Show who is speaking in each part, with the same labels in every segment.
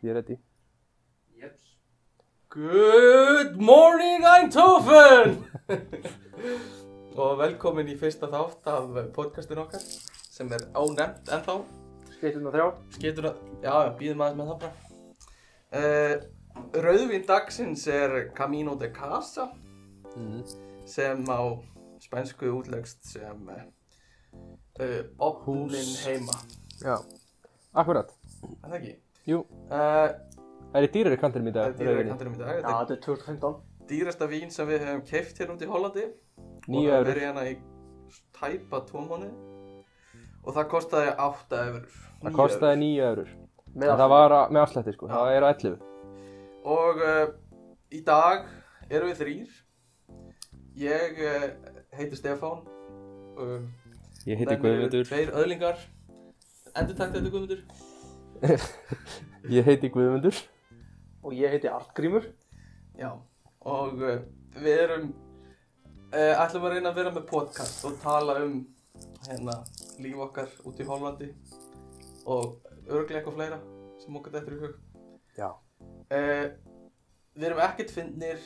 Speaker 1: Ég er ready.
Speaker 2: Jeps. Good morning Eindhoven! og velkomin í fyrsta þátt af podcastin okkar sem er ónefnt ennþá.
Speaker 1: Skeittun og þrjá.
Speaker 2: Skeitur að, já, já, býðum aðeins með það bara. Uh, Rauðvin dagsins er Camino de Casa Mhm.
Speaker 1: Mm.
Speaker 2: sem á spænsku útlegst sem uh, opnin heima.
Speaker 1: Já. Akkurat.
Speaker 2: Er það ekki?
Speaker 1: Jú.
Speaker 2: Uh,
Speaker 1: Það er í dýrari kantinum í
Speaker 2: það
Speaker 1: dag.
Speaker 2: er dýrari kantinum í dag.
Speaker 3: Já,
Speaker 2: Þetta
Speaker 3: þetta er 2015.
Speaker 2: er dýrasta vín sem við hefum keift hérna út í Hollandi.
Speaker 1: Nýju
Speaker 2: og það
Speaker 1: eurur.
Speaker 2: verið hérna í tæpa tvo mánu og það kostaði 8 eurur
Speaker 1: Það
Speaker 2: Níu
Speaker 1: kostaði nýju eurur.
Speaker 3: Með
Speaker 1: En það var að- með afslætti sko. Það er á 11.
Speaker 2: eurur. og uh, í dag erum við þrýr ég uh, heiti Stefán uh,
Speaker 1: Ég heiti Guðmundur.
Speaker 2: tveir öðlingar endur takk þetta Guðmundur
Speaker 1: Ég heiti Guðmundur.
Speaker 3: Og ég heiti Artgrímur.
Speaker 2: já og uh, við erum uh, ætlum að reyna að vera með podcast og tala um hérna líf okkar út í Hollandi og örglega eitthvað fleira sem okkur þetta er í hug
Speaker 1: Já.
Speaker 2: Uh, við erum ekkert fyndnir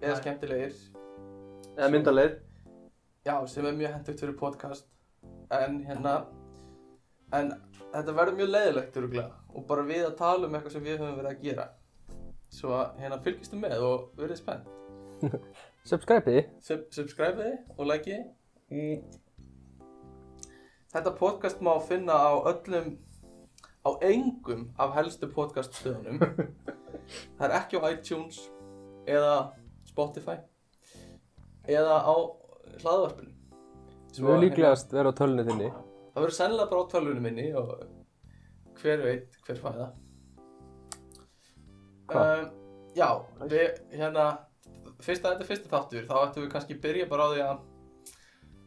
Speaker 2: eða
Speaker 3: Nei.
Speaker 2: skemmtilegir,
Speaker 3: Eða myndaleið.
Speaker 2: já, sem er mjög hendugt fyrir podcast, en hérna, en þetta verður mjög leiðilegt öruglega og bara við að tala um eitthvað sem við höfum verið að gera. Svo að hérna fylgistu með og verið spennt.
Speaker 1: Subscribe-ið.
Speaker 2: Sub Subscribeði og likeiði. Þetta podcast má finna á öllum, á engum af helstu podcaststöðunum. Það er ekki á iTunes eða Spotify eða á hlaðvarpinu.
Speaker 1: Sem við
Speaker 2: hérna.
Speaker 1: líklegast vera á tölunni þinni.
Speaker 2: Það verður sennilega bara á tölvunum minni og hver veit hver fæða.
Speaker 1: Hva?
Speaker 2: Um, já, við, hérna, fyrsta, þetta er fyrsti þáttur, þá ættum við kannski byrja bara á því að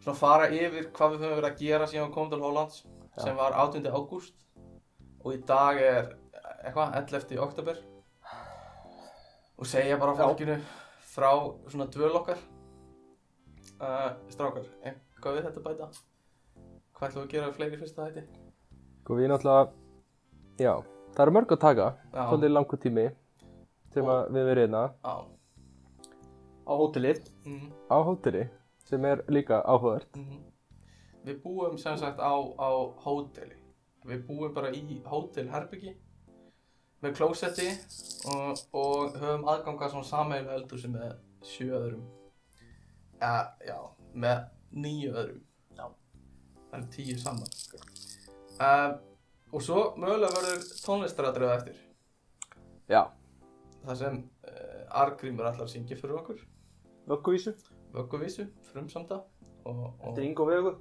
Speaker 2: svona fara yfir hvað við höfum verið að gera síðan við komum til Hollands
Speaker 1: Já.
Speaker 2: sem var 18. ágúst og í dag er eitthvað, 11. oktober og segja bara
Speaker 3: Já.
Speaker 2: fólkinu frá svona dvöl okkar uh, strákar, eitthvað við þetta að bæta? Hvað ætlum við að gera við fleiri í fyrsta þætti?
Speaker 1: Sko við náttúrulega, já, það eru mörg að taka,
Speaker 2: Já.
Speaker 1: svolítið langur tími sem að við verið hérna
Speaker 2: Á.
Speaker 3: Á hótelið.
Speaker 2: Mm
Speaker 1: á hóteli sem er líka áhugavert.
Speaker 2: -hmm. Við búum sem sagt á, á hóteli. Við búum bara í hótelherbyggi með klósetti og, og höfum aðganga svona sameiginlega eldur sem með sjö öðrum. Ja, já, með níu öðrum. Já. Það eru tíu saman. Uh, og svo mögulega verður tónlistaratriða eftir.
Speaker 1: Já,
Speaker 2: Það sem uh, Argrímur allar syngja fyrir okkur.
Speaker 3: Vögguvísu.
Speaker 2: Vögguvísu, frumsamda. Og, og,
Speaker 3: Eftir Ingo Vegu.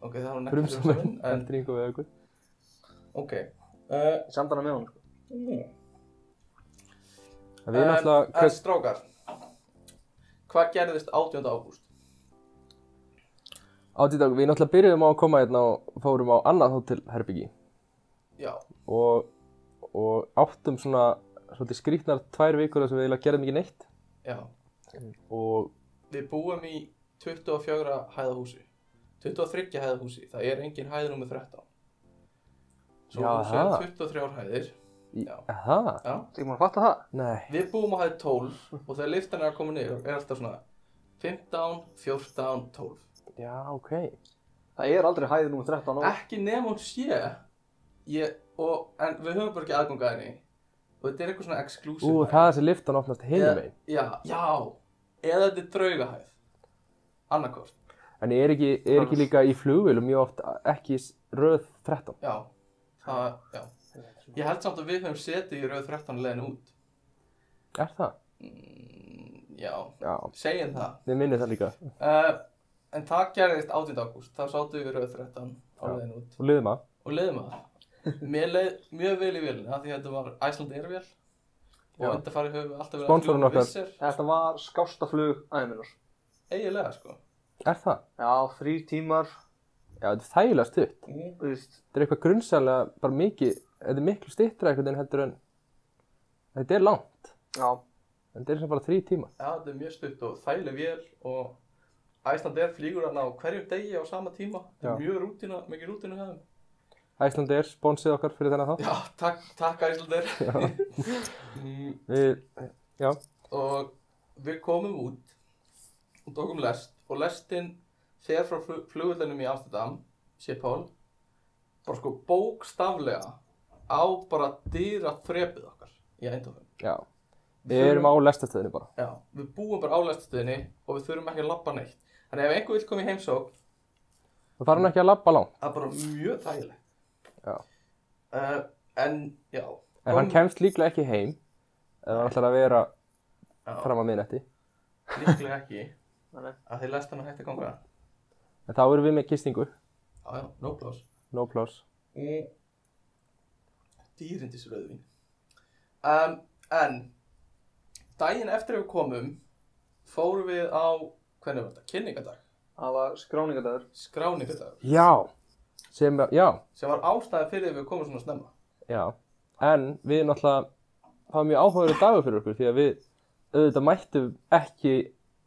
Speaker 2: ok, það var hún ekki
Speaker 1: frumsaminn,
Speaker 2: frumsamin. En,
Speaker 1: eldring og aukur.
Speaker 2: ok. Uh,
Speaker 3: Ég samt hana með honum. sko.
Speaker 1: Við erum
Speaker 2: en,
Speaker 1: náttúrulega,
Speaker 2: en
Speaker 1: hvers,
Speaker 2: strákar, hvað gerðist 18. ágúst?
Speaker 1: átíðdag, við náttúrulega byrjuðum á að koma hérna og fórum á annað hótelherbyggi
Speaker 2: Já,
Speaker 1: og, og áttum svona svolítið skrýtnar tvær vikur þar sem við eiginlega gerðum ekki neitt
Speaker 2: já.
Speaker 1: og
Speaker 2: Við búum í 24 hæðahúsi. 23 hæðahúsi, það er engin hæður nummer 13. Svo
Speaker 1: Já,
Speaker 2: hús
Speaker 1: það.
Speaker 2: er 23 hæðir.
Speaker 1: í,
Speaker 2: Já.
Speaker 1: það,
Speaker 2: Já.
Speaker 3: Þegar maður fatta það.
Speaker 1: nei,
Speaker 2: Við búum á hæð 12 og þegar liftan er að koma niður er alltaf svona 15, 14, 12.
Speaker 1: já, ok,
Speaker 3: Það er aldrei hæðið nr. 13 á.
Speaker 2: ekki nefn hún sé ég, og, en við höfum bara ekki aðgang að henni og þetta er eitthvað svona exclusive
Speaker 1: ú, það er sem liftan opnast hinum einn.
Speaker 2: já, já, eða þetta er draugahæð annarkort,
Speaker 1: En er ekki, er ekki líka í flugvilum mjög oft ekki s- röð 13?
Speaker 2: já, það, já ég held samt að við höfum setið í rauð 13 leiðin út
Speaker 1: Er það?
Speaker 2: mm, já,
Speaker 1: Já.
Speaker 2: segjum það
Speaker 1: Við minnum það líka.
Speaker 2: uh, en það gerðist 18. ágúst þá sátum við í rauð 13 á
Speaker 1: Já.
Speaker 2: leiðin út
Speaker 1: Og liðum að.
Speaker 2: og leiðum að það mér leið mjög vel í vélina af því að þetta var Æsland Airvél og
Speaker 1: Já.
Speaker 2: undanfari höfum við alltaf verið
Speaker 1: Sponsorinn
Speaker 2: fljúga
Speaker 1: okkar.
Speaker 2: Wizz Air.
Speaker 3: Þetta var skásta flug aðeiminnur.
Speaker 2: eiginlega sko
Speaker 1: Er það?
Speaker 3: Já, þrý tímar.
Speaker 1: Já, þetta er þægilega stutt.
Speaker 2: mm.
Speaker 3: Þú veist,
Speaker 1: Þetta er eitthvað grunnsalega bara mikið, þetta er miklu stittra einhvern veginn heldur en þetta er langt.
Speaker 3: já.
Speaker 1: En þetta er sem bara þrý tímar.
Speaker 2: Já, þetta er mjög stutt og þægileg vél og Æslandeir flýgur hann á hverjum degi á sama tíma. Þetta
Speaker 1: Já.
Speaker 2: er mjög rútina, mikið rútina hefðum.
Speaker 1: Æslandi er sponsið okkar fyrir þennan þá.
Speaker 2: Já, takk, takk Æslandeir. Mm,
Speaker 1: Við, já,
Speaker 2: og við komum út og tókum lest og lestin fer frá flug, flugullinum í Amsterdam, Schiphol, bara sko bókstaflega á bara dýra þrepið okkar í eindofum.
Speaker 1: já. Við erum á lestastöðinu bara.
Speaker 2: Já, við búum bara á lestastöðinni og við þurfum ekki að labba neitt. Þannig ef einhver vil koma í heimsók,
Speaker 1: Við farum ekki að labba langt.
Speaker 2: það er bara mjög þægilegt.
Speaker 1: Já.
Speaker 2: Uh, en, já.
Speaker 1: En hann kemst líklega ekki heim. Eða hann ætlar að vera
Speaker 2: Já,
Speaker 1: fram að miðnætti.
Speaker 2: Líklega ekki,
Speaker 3: Nei, nei.
Speaker 2: að þið lestan að hætti að ganga.
Speaker 1: En þá erum við með gistingu.
Speaker 2: Já, já, no plus.
Speaker 1: No plus.
Speaker 2: Mm. Dýrindisröðvin um, En Daginn eftir við komum Fórum við á Hvernig var þetta? Kynningadag?
Speaker 3: Það var skráningadagur.
Speaker 2: Skráningadag
Speaker 1: Já. Sem, já,
Speaker 2: Sem var ástæði fyrir að við komum svona snemma
Speaker 1: já. En við náttúrulega, það var mjög áhugaður dagur fyrir okkur. Því að við auðvitað mættum ekki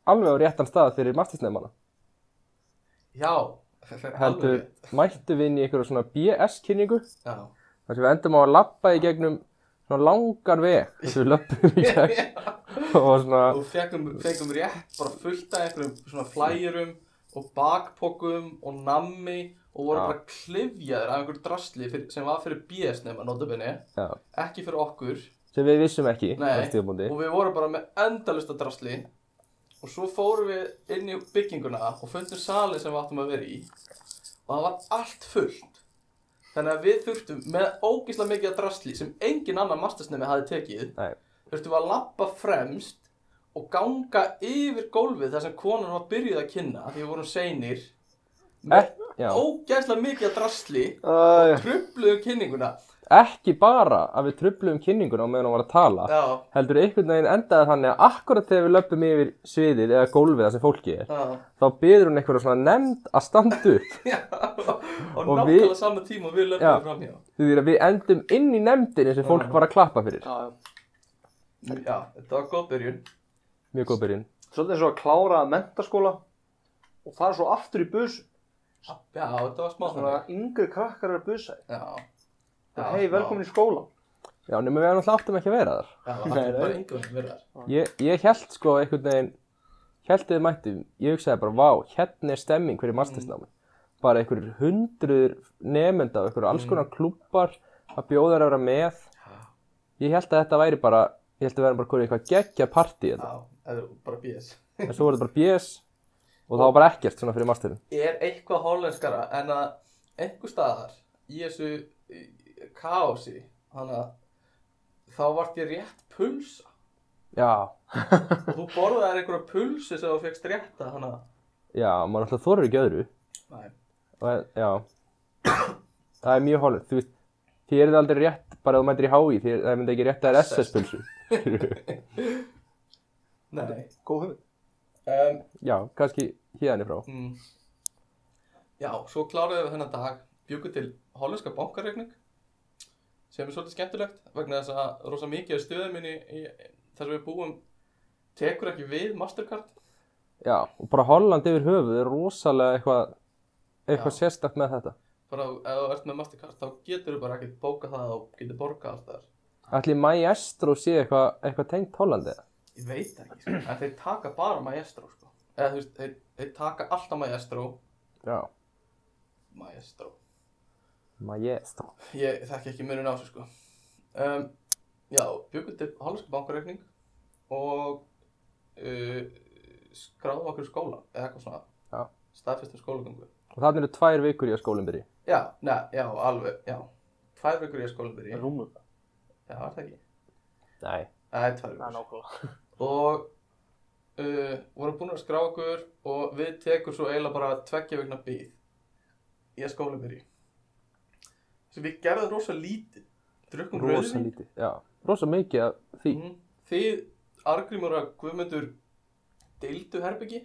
Speaker 1: alveg á réttan stað fyrir mastersnefmana.
Speaker 2: Já
Speaker 1: Heldur,
Speaker 2: alveg.
Speaker 1: mættum við inn í einhverju svona BS-kynningu.
Speaker 2: Já
Speaker 1: Þar sem við endum á að lappa í gegnum svona langan veg. Þess að við löppum í gegn og svona,
Speaker 2: Og fekkum, fekkum rétt bara fullt af einhverjum svona flæjurum Og bakpokum og nammi Og voru
Speaker 1: Já.
Speaker 2: bara klifjaður af einhverju drasli fyrir, Sem var fyrir BS nefna notabene
Speaker 1: já,
Speaker 2: Ekki fyrir okkur
Speaker 1: sem við vissum ekki. á
Speaker 2: Nei,
Speaker 1: stíðabúndi.
Speaker 2: og við vorum bara með endalista drasli og svo fórum við inn í bygginguna og fundum salin sem við áttum að vera í og það var allt fullt þannig að við þurftum með ógislega mikið af drasli sem engin annar mastersnemi hafi tekið
Speaker 1: Nei.
Speaker 2: þurftum við að lappa fremst og ganga yfir gólfið þar sem konan var byrjuð að kynna af því við vorum seinir með
Speaker 1: Ek, já,
Speaker 2: ógæslega mikið af drasli
Speaker 3: Æ,
Speaker 2: trubluðum kynninguna
Speaker 1: ekki bara að við tröflum kynninguna á meðan hún var að tala.
Speaker 2: já,
Speaker 1: Heldur einhvern veginn endaði þannig að akkurat þegar við löpum yfir sviðið eða gólfið þar sem fólki er,
Speaker 2: já,
Speaker 1: þá byður hún einhverja svona nefnd að standa upp.
Speaker 2: já og,
Speaker 1: Og við-
Speaker 2: nákvæmlega sama tíma og við
Speaker 1: Já.
Speaker 2: löfum framhjá
Speaker 1: Því að við endum inn í nefndinni sem fólk var að klappa fyrir.
Speaker 3: já, já.
Speaker 2: Já, þetta var góð byrjun.
Speaker 1: Mjög góð byrjun.
Speaker 3: Svolítið eins og að klára mentaskóla og fara svo aftur í bus.
Speaker 2: Já, þetta var smá
Speaker 3: Þannig
Speaker 2: þannig.
Speaker 3: að yngri krakkar eru að busa.
Speaker 2: Já.
Speaker 3: Hei, velkomin í skólan.
Speaker 1: Já, nema við erum alltaf áttum ekki að vera þar.
Speaker 2: Já, það
Speaker 3: Nei,
Speaker 2: var
Speaker 3: nei.
Speaker 2: bara yngur að vera þar.
Speaker 1: Ég, ég held sko einhvern veginn, held þið mættum, ég hugsaði bara, vá, hérna er stemming fyrir mastersnámi. Bara einhverjur hundruður nefnda og einhverjur alls konar klúpar að bjóða að vera með. Ég held að þetta væri bara, ég held að vera bara hverju eitthvað geggja partí
Speaker 2: Já,
Speaker 1: þetta.
Speaker 2: það er bara bíðis.
Speaker 1: En svo voru þetta bara BS og það var bara ekkert svona fyrir masterinn.
Speaker 2: Er eitthvað hollenskara en að einhver staðar í þessu í- kaosi, þannig að þá vart ég rétt pulsa.
Speaker 1: Já,
Speaker 2: Og þú borðaðir einhverja pulsu sem þú fegst rétta, þannig að...
Speaker 1: já, maður alltaf þorir ekki öðru.
Speaker 2: Nei.
Speaker 1: Og, já, það er mjög hólið. Þú veist, þið er það aldrei rétt bara ef þú mætir í HÍ, þið það myndi ekki rétt að
Speaker 2: SS.
Speaker 1: SS-pulsu.
Speaker 2: Nei.
Speaker 3: Góð hugmynd.
Speaker 2: Um,
Speaker 1: já, kannski hérna frá.
Speaker 2: mm. Já, svo kláruðum við þennan dag, bjúku til hollenska bankareikning sem er svolítið skemmtilegt vegna þess að rosa mikið af stöðum minni í, í, þar sem við búum tekur ekki við Mastercard
Speaker 1: Já, og bara Holland yfir höfuð er rosalega eitthvað, eitthvað
Speaker 2: Já.
Speaker 1: sérstakt með þetta.
Speaker 2: bara ef þú ert með Mastercard þá getur þú bara ekki bóka það og getur borgað allt þar
Speaker 1: Ætli Maestro sé eitthvað, eitthvað tengt Hollandi eða?
Speaker 2: ég veit það ekki, sko. en þeir taka bara Maestro sko. eða þú veist, þeir, þeir taka alltaf Maestro
Speaker 1: Já.
Speaker 2: Maestro
Speaker 1: Maestro.
Speaker 2: Ég þekki ekki munun á þessu sko. Um, já, byggum til hollandska bankareikning og uh, skráðum okkur í skóla eða eitthvað svona.
Speaker 1: Já.
Speaker 2: Staðfestum skólagöngu.
Speaker 1: Og þannig eru tvær vikur í að skólinn byrji.
Speaker 2: Já, neða, já, alveg, já. Tvær vikur í skóla byrji.
Speaker 3: Rúmur.
Speaker 2: Já, var það ekki?
Speaker 1: Nei.
Speaker 2: Það er tvær
Speaker 3: Nei,
Speaker 2: vikur.
Speaker 3: nákvæmlega.
Speaker 2: Og uh, vorum búin að skrá okkur og við tekur svo eiginlega bara tveggja vikna bíð í að skóla byrji. Svo við gerðum rosa lítið. Drukkum
Speaker 1: Rosa
Speaker 2: rauðvín.
Speaker 1: lítið. Já. Rosa mikið af því.
Speaker 2: Mhm. Þið, Argrímur og Guðmundur, deildu herbyggi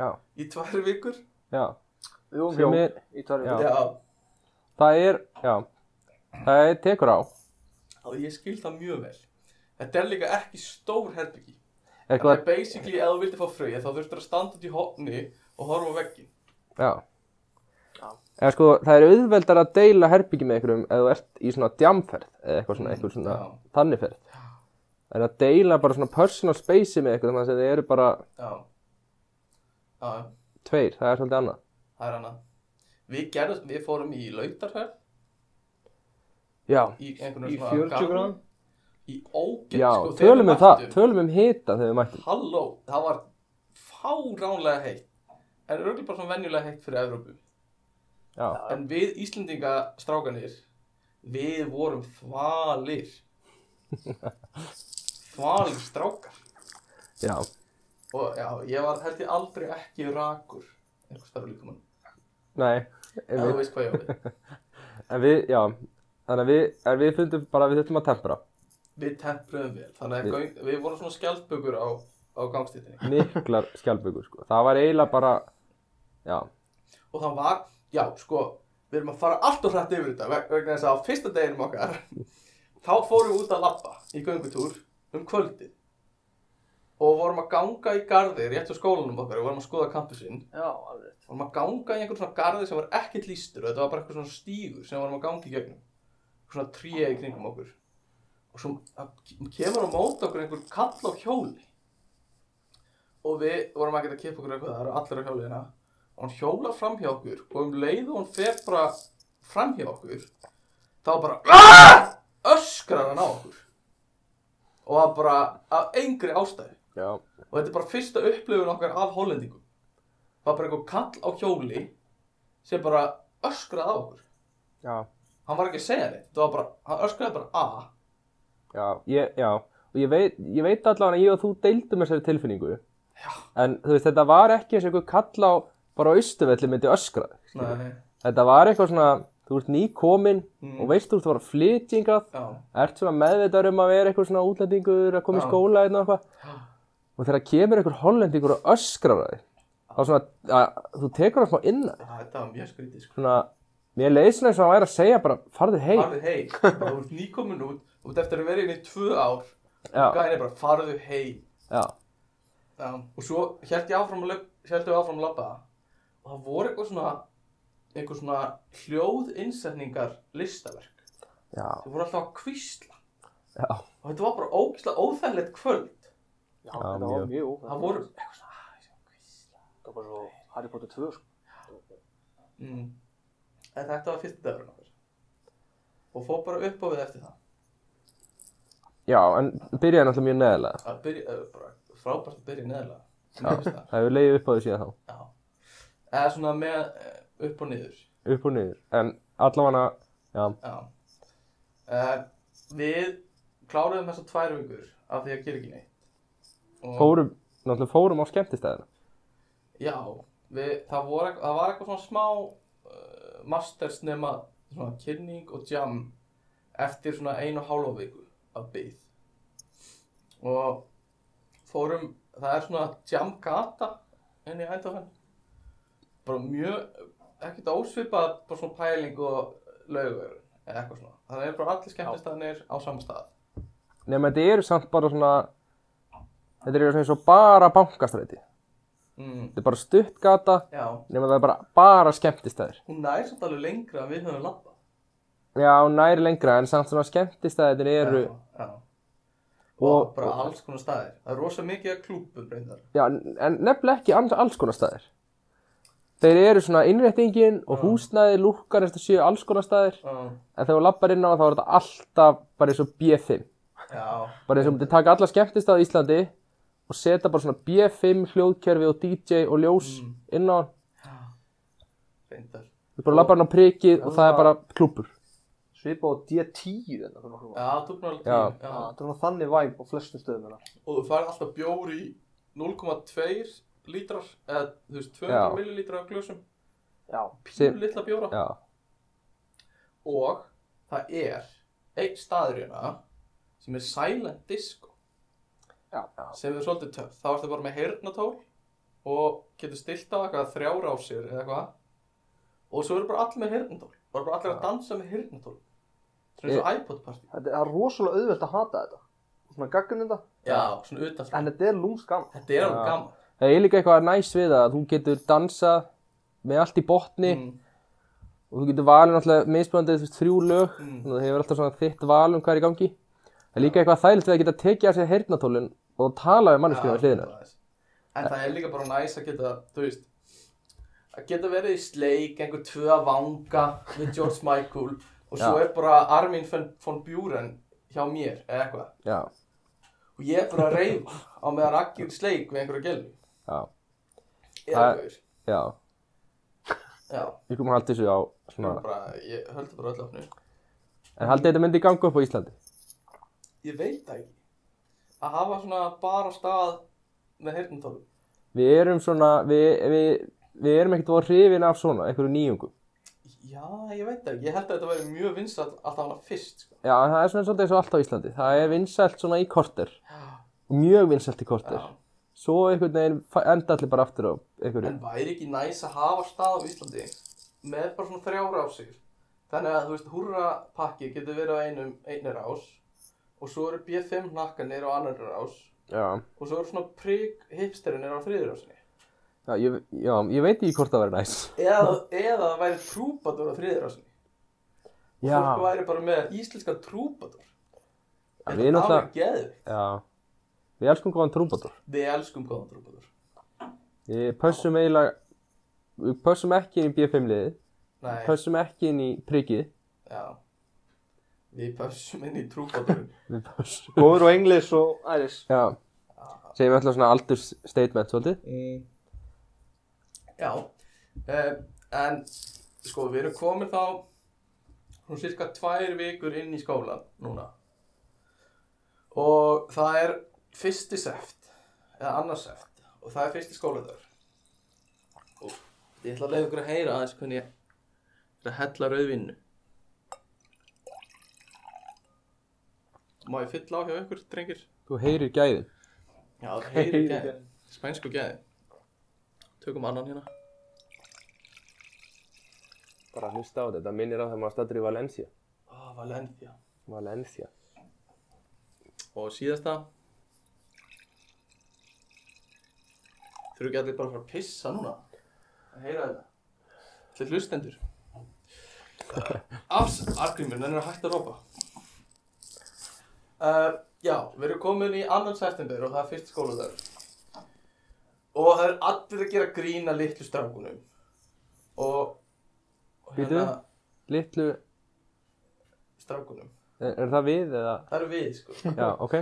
Speaker 1: Já.
Speaker 2: í tvær vikur.
Speaker 1: Já.
Speaker 3: Við vorum
Speaker 1: Sem
Speaker 3: hjá
Speaker 1: er,
Speaker 3: í tværi
Speaker 1: Já.
Speaker 3: vikur.
Speaker 1: það er, já. Það er tekur á.
Speaker 2: og ég skil það mjög vel. Þetta er líka ekki stór herbyggi.
Speaker 1: Er
Speaker 2: Þetta
Speaker 1: hvað,
Speaker 2: er basically, ef þú vildi fá fröið, þá þurftur að standa út í hotni og horfa á veggin.
Speaker 1: já.
Speaker 3: Já.
Speaker 1: Eða sko, það er auðveldar að deila herbyggi með einhverjum ef þú ert í svona djamferð eða eitthvað svona, eitthvað svona
Speaker 2: Já.
Speaker 1: þannigferð. En að deila bara svona personal space með einhverjum þannig að þið eru bara
Speaker 2: Já. Já, já,
Speaker 1: tveir, það er svolítið annað.
Speaker 2: það er annað. Við gerðum, við fórum í lautarhörn,
Speaker 1: Já,
Speaker 2: í einhvern
Speaker 3: Í 40 gráðum?
Speaker 2: Í ógeð,
Speaker 1: já,
Speaker 2: sko, þegar
Speaker 1: tölum
Speaker 2: við
Speaker 1: um það,
Speaker 2: mættum-
Speaker 1: tölum um hita þegar við mættum.
Speaker 2: Halló, það var fáránlega heitt. En örgulega bara svona venjulega heitt fyrir Evrópu.
Speaker 1: Já,
Speaker 2: En við Íslendinga strákanir, við vorum þvalir. þvalir strákar.
Speaker 1: já,
Speaker 2: Og já, ég var held ég aldrei ekki rakur. Einhvers þar líka mann.
Speaker 1: nei,
Speaker 2: Ef þú
Speaker 1: einmitt.
Speaker 2: veist hvað ég á við.
Speaker 1: En við, já, þannig að við, en við fundum bara að við þurfum að tempra.
Speaker 2: Við tempruðum vel. Þannig að göng, við vorum svona skjaldbökur á, á gangstíðinni.
Speaker 1: Miklar skjálfbyggur, sko. Það var eiginlega bara, já,
Speaker 2: Og það var, já, sko, við erum að fara allt og hrætt yfir þetta. veg- Vegna þess að á fyrsta deginum okkar, þá fórum við út að labba í göngutúr um kvöldið. Og vorum að ganga í garði rétt á skólanum okkar og vorum að skoða kampusinn.
Speaker 3: Já, alveg rétt.
Speaker 2: vorum að ganga í einhvern svona garði sem var ekkert lístur og þetta var bara eitthvað svona stígur sem vorum að ganga í gegnum Einhver svona tríja í kringum okkur og svo að- kemur á móti okkur einhver kall á hjóli og við vorum ekkert að kippa okkur eitthvað það eru allir á hjóli hérna og hann hjólar fram hjá okkur og um leið og hann fer bara fram hjá okkur þá bara "Ah!" öskrar hann á okkur og það bara af engri ástæði
Speaker 1: já,
Speaker 2: og þetta er bara fyrsta upplifun okkar af hollendingum var bara einhver kall á hjóli sem bara öskraði á okkur
Speaker 1: já,
Speaker 2: hann var ekki að segja neitt, þetta var bara, hann öskraði bara a
Speaker 1: já, ég, já. Og ég veit, ég veit allavega að ég og þú deildum þessari tilfinningu. Já. En þú veist, þetta var ekki eins og einhver kall á, bara á austuvelli myndi öskra. þig, skilur.
Speaker 2: Nei,
Speaker 1: Þetta var eitthvað svona, þú ert nýkominn
Speaker 2: Mm.
Speaker 1: og veist þú ert að fara flytjingað.
Speaker 2: já,
Speaker 1: ert svona meðvitaður um að vera eitthvað svona útlendingur að koma í
Speaker 2: Já.
Speaker 1: skóla eða eitthvað og þegar kemur einhver hollendingur og öskrar að þig þá svona að, þú tekur það smá innan
Speaker 2: Æ, þetta var mjög skrítið sko
Speaker 1: svona, mér leið svona eins og hann væri að segja bara farðu heim
Speaker 2: farðu hei, þú ert nýkomin út út eftir að vera inn í tvö ár
Speaker 1: já,
Speaker 2: gæðin er bara farðu hei
Speaker 1: já,
Speaker 2: já. og svo held ég áfram að löp, held ég áfram að labba og það voru eitthvað svona eitthvað svona hljóðinsetningar listaverk
Speaker 1: já,
Speaker 2: þau voru alltaf að kvísla
Speaker 1: já,
Speaker 2: og þetta var bara ógislega óþægilegt kvöld
Speaker 3: Já,
Speaker 1: Já,
Speaker 3: þetta var
Speaker 1: mjög.
Speaker 3: mjög óþægt.
Speaker 2: Það voru eitthvað svona "Ah, ég sé að hvísla."
Speaker 3: Það var bara svo Harry Potter 2, sko.
Speaker 2: mm. En þetta var fyrsti dagurinn okkar Og fór bara upp á við eftir það
Speaker 1: já en byrjaði náttúrulega mjög neðilega
Speaker 2: Það byrja, eh, bara, Frábært að byrja neðalega
Speaker 1: það hefur leiðið upp á því síðan þá
Speaker 2: Já Eða svona með eh, upp og niður
Speaker 1: upp og niður en allavega já,
Speaker 2: Já uh, Við kláruðum þessar tvær vikur Af því að gera ekki neitt Og-
Speaker 1: fórum náttúrulega fórum á skemmtistæðina
Speaker 2: Já við, það, voru, eitthvað- það var eitthvað svona smá uh, Masters nema Svona kynning og jam Eftir svona einu og hálfa viku Af byggð og fórum, það er svona jamgata inn í Eindhoven bara mjög, ekkert ósvipað bara svona pæling og laugur eða eitthvað svona, þannig er bara allir skemmtistaðanir á sama stað
Speaker 1: nema þetta eru samt bara svona þetta eru svona eins og bara bankastræti þetta
Speaker 2: mm.
Speaker 1: er bara stutt gata
Speaker 2: já,
Speaker 1: nema það er bara, bara skemmtistæðir
Speaker 2: hún nær samt alveg lengra en við höfum labbað
Speaker 1: Já, nær lengra, en samt svona skemmtistæðir eru,
Speaker 2: já, já. og,
Speaker 1: Og-
Speaker 2: bara alls konar staðir það er rosa mikið að klúpu breyndar
Speaker 1: já, en nefnilega ekki ans, alls konar staðir. Þeir eru svona innréttingin og húsnæði, lúkkar, þetta séu alls konar staðir,
Speaker 2: uh,
Speaker 1: en þegar þú lappar inn á þá er þetta alltaf bara eins og B5.
Speaker 2: já,
Speaker 1: Bara eins og myndi taka alla skemmtistæði í Íslandi og setja bara svona B5 hljóðkerfi og DJ og ljós
Speaker 2: Mm.
Speaker 1: inn á hann.
Speaker 2: breyndar
Speaker 1: Þú bara lappar hann á prikið og það er bara klúpur.
Speaker 3: Svipa á D10 þennan fyrir nokkur
Speaker 2: já, þú búin alveg
Speaker 1: Já.
Speaker 2: tíu já.
Speaker 3: Það er nú þannig væp á flestum stöðum hérna.
Speaker 2: og þú færð alltaf bjór í 0,2 lítrar eða þú veist 200
Speaker 1: Já.
Speaker 2: millilítrar af glösum
Speaker 3: Já,
Speaker 1: Sem-
Speaker 2: pínu litla bjóra
Speaker 1: Já,
Speaker 2: og það er einn staður hérna sem er silent disco
Speaker 3: já, já.
Speaker 2: sem er svolítið töff þá ertu bara með heyrnatól og getur stilt á eitthvað þrjár á sér eða eitthvað og svo eru bara allir með heyrnatól bara, bara allir að dansa með heyrnatól sem er svo iPod party
Speaker 3: Þetta er það er rosalega auðvelt að hata þetta. Svona gaggin þetta.
Speaker 2: Já, svona utast
Speaker 3: En þetta er lúms gaman.
Speaker 2: Þetta er alveg
Speaker 1: Já.
Speaker 2: gaman
Speaker 1: Það er líka eitthvað næs við það að þú getur dansað með allt í botni
Speaker 2: Mm.
Speaker 1: og þú getur valið náttúrulega mismunandi þú veist, þrjú lög
Speaker 2: Mm.
Speaker 1: þannig að það hefur alltaf svona þitt val um hvað er í gangi. Það er líka eitthvað þægilegt við að geta tekið af sér heyrnatólun og tala við manneskinu
Speaker 2: Já,
Speaker 1: við hliðina.
Speaker 2: svoleiðis. En það er líka bara næs að geta, þú veist að geta verið í sleik, einhver tvö að vanga við George Michael og svo
Speaker 1: Já.
Speaker 2: er bara Armin von, von Buren hjá mér eða eitthvað
Speaker 1: Já,
Speaker 2: og ég er bara að reyfa á meðan Akki er í sleik við einhverja gelmi
Speaker 1: já,
Speaker 2: eða
Speaker 1: Það-
Speaker 2: eitthvað
Speaker 1: já.
Speaker 2: Já,
Speaker 1: Við komum að halda þessu á
Speaker 2: ég
Speaker 1: svona.
Speaker 2: bara, ég höldi bara öll opnu
Speaker 1: En haldið þetta myndi ganga upp á Íslandi?
Speaker 2: Ég veit það ekki að hafa svona bara stað með heyrnumtólum
Speaker 1: Við erum svona, við, við, við erum ekkert voru hrifin af svona, einhverju nýjungum.
Speaker 2: Já, ég veit það ekki, ég held að þetta væri mjög vinsall alltaf hana fyrst sko.
Speaker 1: Já, en það er svona svolítið eins og allt á Íslandi. Það er vinsælt svona í korter,
Speaker 2: Já,
Speaker 1: mjög vinsælt í korter.
Speaker 2: já.
Speaker 1: Svo einhvern veginn fa- enda allir bara aftur á einhverju.
Speaker 2: En væri ekki næs að hafa stað á Íslandi með bara svona þrjára á sig Þannig að þú veist, húrra pakki getur verið á einum, einir ás og svo eru B5 nakkanir á annar ás
Speaker 1: Já,
Speaker 2: og svo eru svona prik hipsterinir á þriður ásinni
Speaker 1: já, ég, já, ég veit ekki hvort það verður næs.
Speaker 2: eða, eða það væri trúbadur á þriður ásinni
Speaker 1: Já,
Speaker 2: Fólk væri bara með íslenska trúbadur
Speaker 1: Já, við náttúrulega,
Speaker 2: geðvikt
Speaker 1: já, við elskum góðan trúbátur.
Speaker 2: Við elskum góðan trúbadur
Speaker 1: Við pössum eiginlega, við pössum ekki inn í B5-liðið,
Speaker 2: Nei,
Speaker 1: pössum ekki inn í prikið,
Speaker 2: já Við pössum inn í trúbadur
Speaker 1: við pössum.
Speaker 3: Góður og englis og æris.
Speaker 1: Já, segjum alltaf svona aldursstatement svolítið.
Speaker 2: Mm. Já, uh, en sko við erum komin þá svona cirka tvær vikur inn í skólan núna og það er fyrsti seft eða annars seft og það er fyrsti skólaður og ég ætla að leiða ykkur að heyra aðeins hvernig ég er að hella rauðvinnu Má ég fylla á hjá ykkur, drengir?
Speaker 1: Þú heyrir gæðin.
Speaker 2: Já, heyri gæði Spænsku gæði Tökum annan hérna
Speaker 1: Bara hlusta á þetta, þetta minnir á þegar maður stættur í Valencia.
Speaker 2: Ó, Valencia
Speaker 1: Valencia.
Speaker 2: Og síðasta Þurfu ekki allir bara að fara að pissa núna Að heyra þetta Allir hlustendur Afs, Argrímur, hann er að hætta að rópa uh, Já, við erum komin í annan september og það er fyrst skólaðar Og það er allir að gera grína litlu strákunum Og, og hérna,
Speaker 1: Bíddu. Littlu,
Speaker 2: Strákunum
Speaker 1: er, er það við eða?
Speaker 2: Það eru við sko
Speaker 1: Já, ok.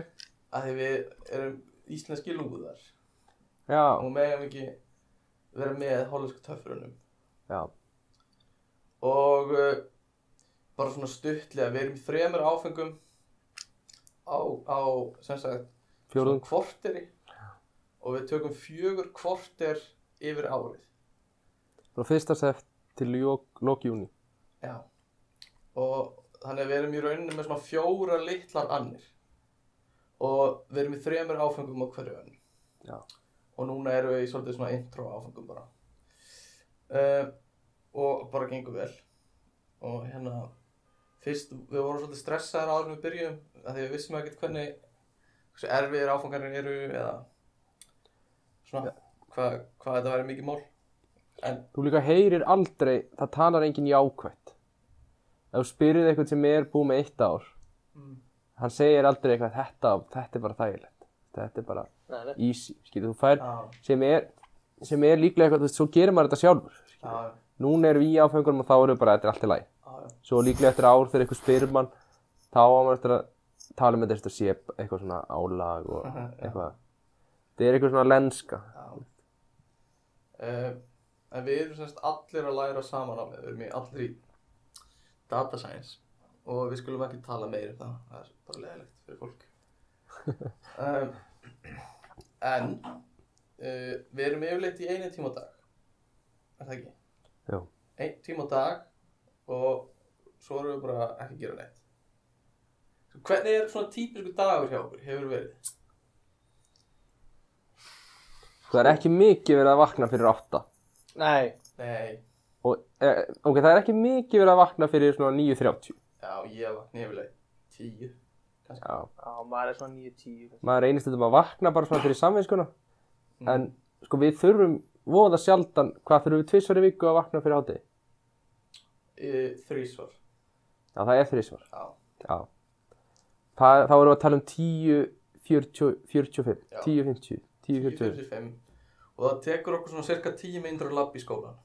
Speaker 2: að því við erum íslenski lúðar
Speaker 1: Já,
Speaker 2: og meðum ekki vera með hollensku töffurunum
Speaker 1: já,
Speaker 2: og uh, bara svona stuttlega, við erum í þremur áfengum á, á sem sagt,
Speaker 1: fjórðung.
Speaker 2: kvorteri og við tökum fjögur kvorter yfir árið
Speaker 1: Frá fyrsta seft til lok, lok júni.
Speaker 2: Já. og þannig að við erum í rauninni með svona fjóra litlar annir og við erum í þremur áfengum á hverju önn
Speaker 1: Já.
Speaker 2: og núna erum við í svolítið svona intro áfengum bara uh, og bara gengur vel og hérna fyrst, við vorum svolítið stressaðar áður en við byrjum af því við vissum ekkert hvernig hversu erfiðir áfangarnir eru eða svona hvað hva þetta væri mikið mál
Speaker 1: Þú líka heyrir aldrei, það talar enginn jákvætt. Ef þú spyrir eitthvað sem er búið með eitt ár,
Speaker 2: Mm.
Speaker 1: hann segir aldrei eitthvað, þetta, þetta er bara þægilegt. Þetta er bara
Speaker 3: Nei, nei.
Speaker 1: easy, skilur, þú fær,
Speaker 2: Já,
Speaker 1: sem er, sem er líklega eitthvað, þú veist, svo gerir maður þetta sjálfur.
Speaker 2: já, já,
Speaker 1: Núna erum við í áfengunum og þá erum við bara, þetta er allt í lagi.
Speaker 2: já
Speaker 1: svo líklega eftir ár þegar eitthvað spyrir mann þá á maður eftir að tala með þetta sé eitthvað svona álag og eitthvað það er eitthvað svona lenska
Speaker 2: uh, en við erum semst allir að læra saman á með, við erum í allir í data science og við skulum ekki tala meir um það, það er bara leðilegt fyrir fólk um, en uh, við erum yfirleitt í einu tíma á dag er það ekki?
Speaker 1: Jú.
Speaker 2: einn tíma á dag og svo erum við bara ekki að gera neitt hvernig er svona típisku dagur hjá okkur hefur verið?
Speaker 1: það er ekki mikið verið að vakna fyrir átta
Speaker 3: Nei.
Speaker 2: nei,
Speaker 1: og e, ok, það er ekki mikið verið að vakna fyrir svona 9.30
Speaker 2: já ég vakna yfirleitt tíu kannski.
Speaker 1: Já.
Speaker 3: Já, maður er svona 9-10
Speaker 1: Maður reynist þetta maður vakna bara svona fyrir samvinskuna.
Speaker 2: Mm.
Speaker 1: En sko við þurfum voða sjaldan, hvað þurfum við tvisvar í viku að vakna fyrir hátegi?
Speaker 2: E, Þrísvar.
Speaker 1: Já, það er þrísvar.
Speaker 2: Já.
Speaker 1: Já. Það, þá erum við að tala um 10, 40, 45,
Speaker 2: Já.
Speaker 1: 10, 50, 10, 40.
Speaker 2: 45. Og það tekur okkur svona cirka 10 myndur að labba í skólan.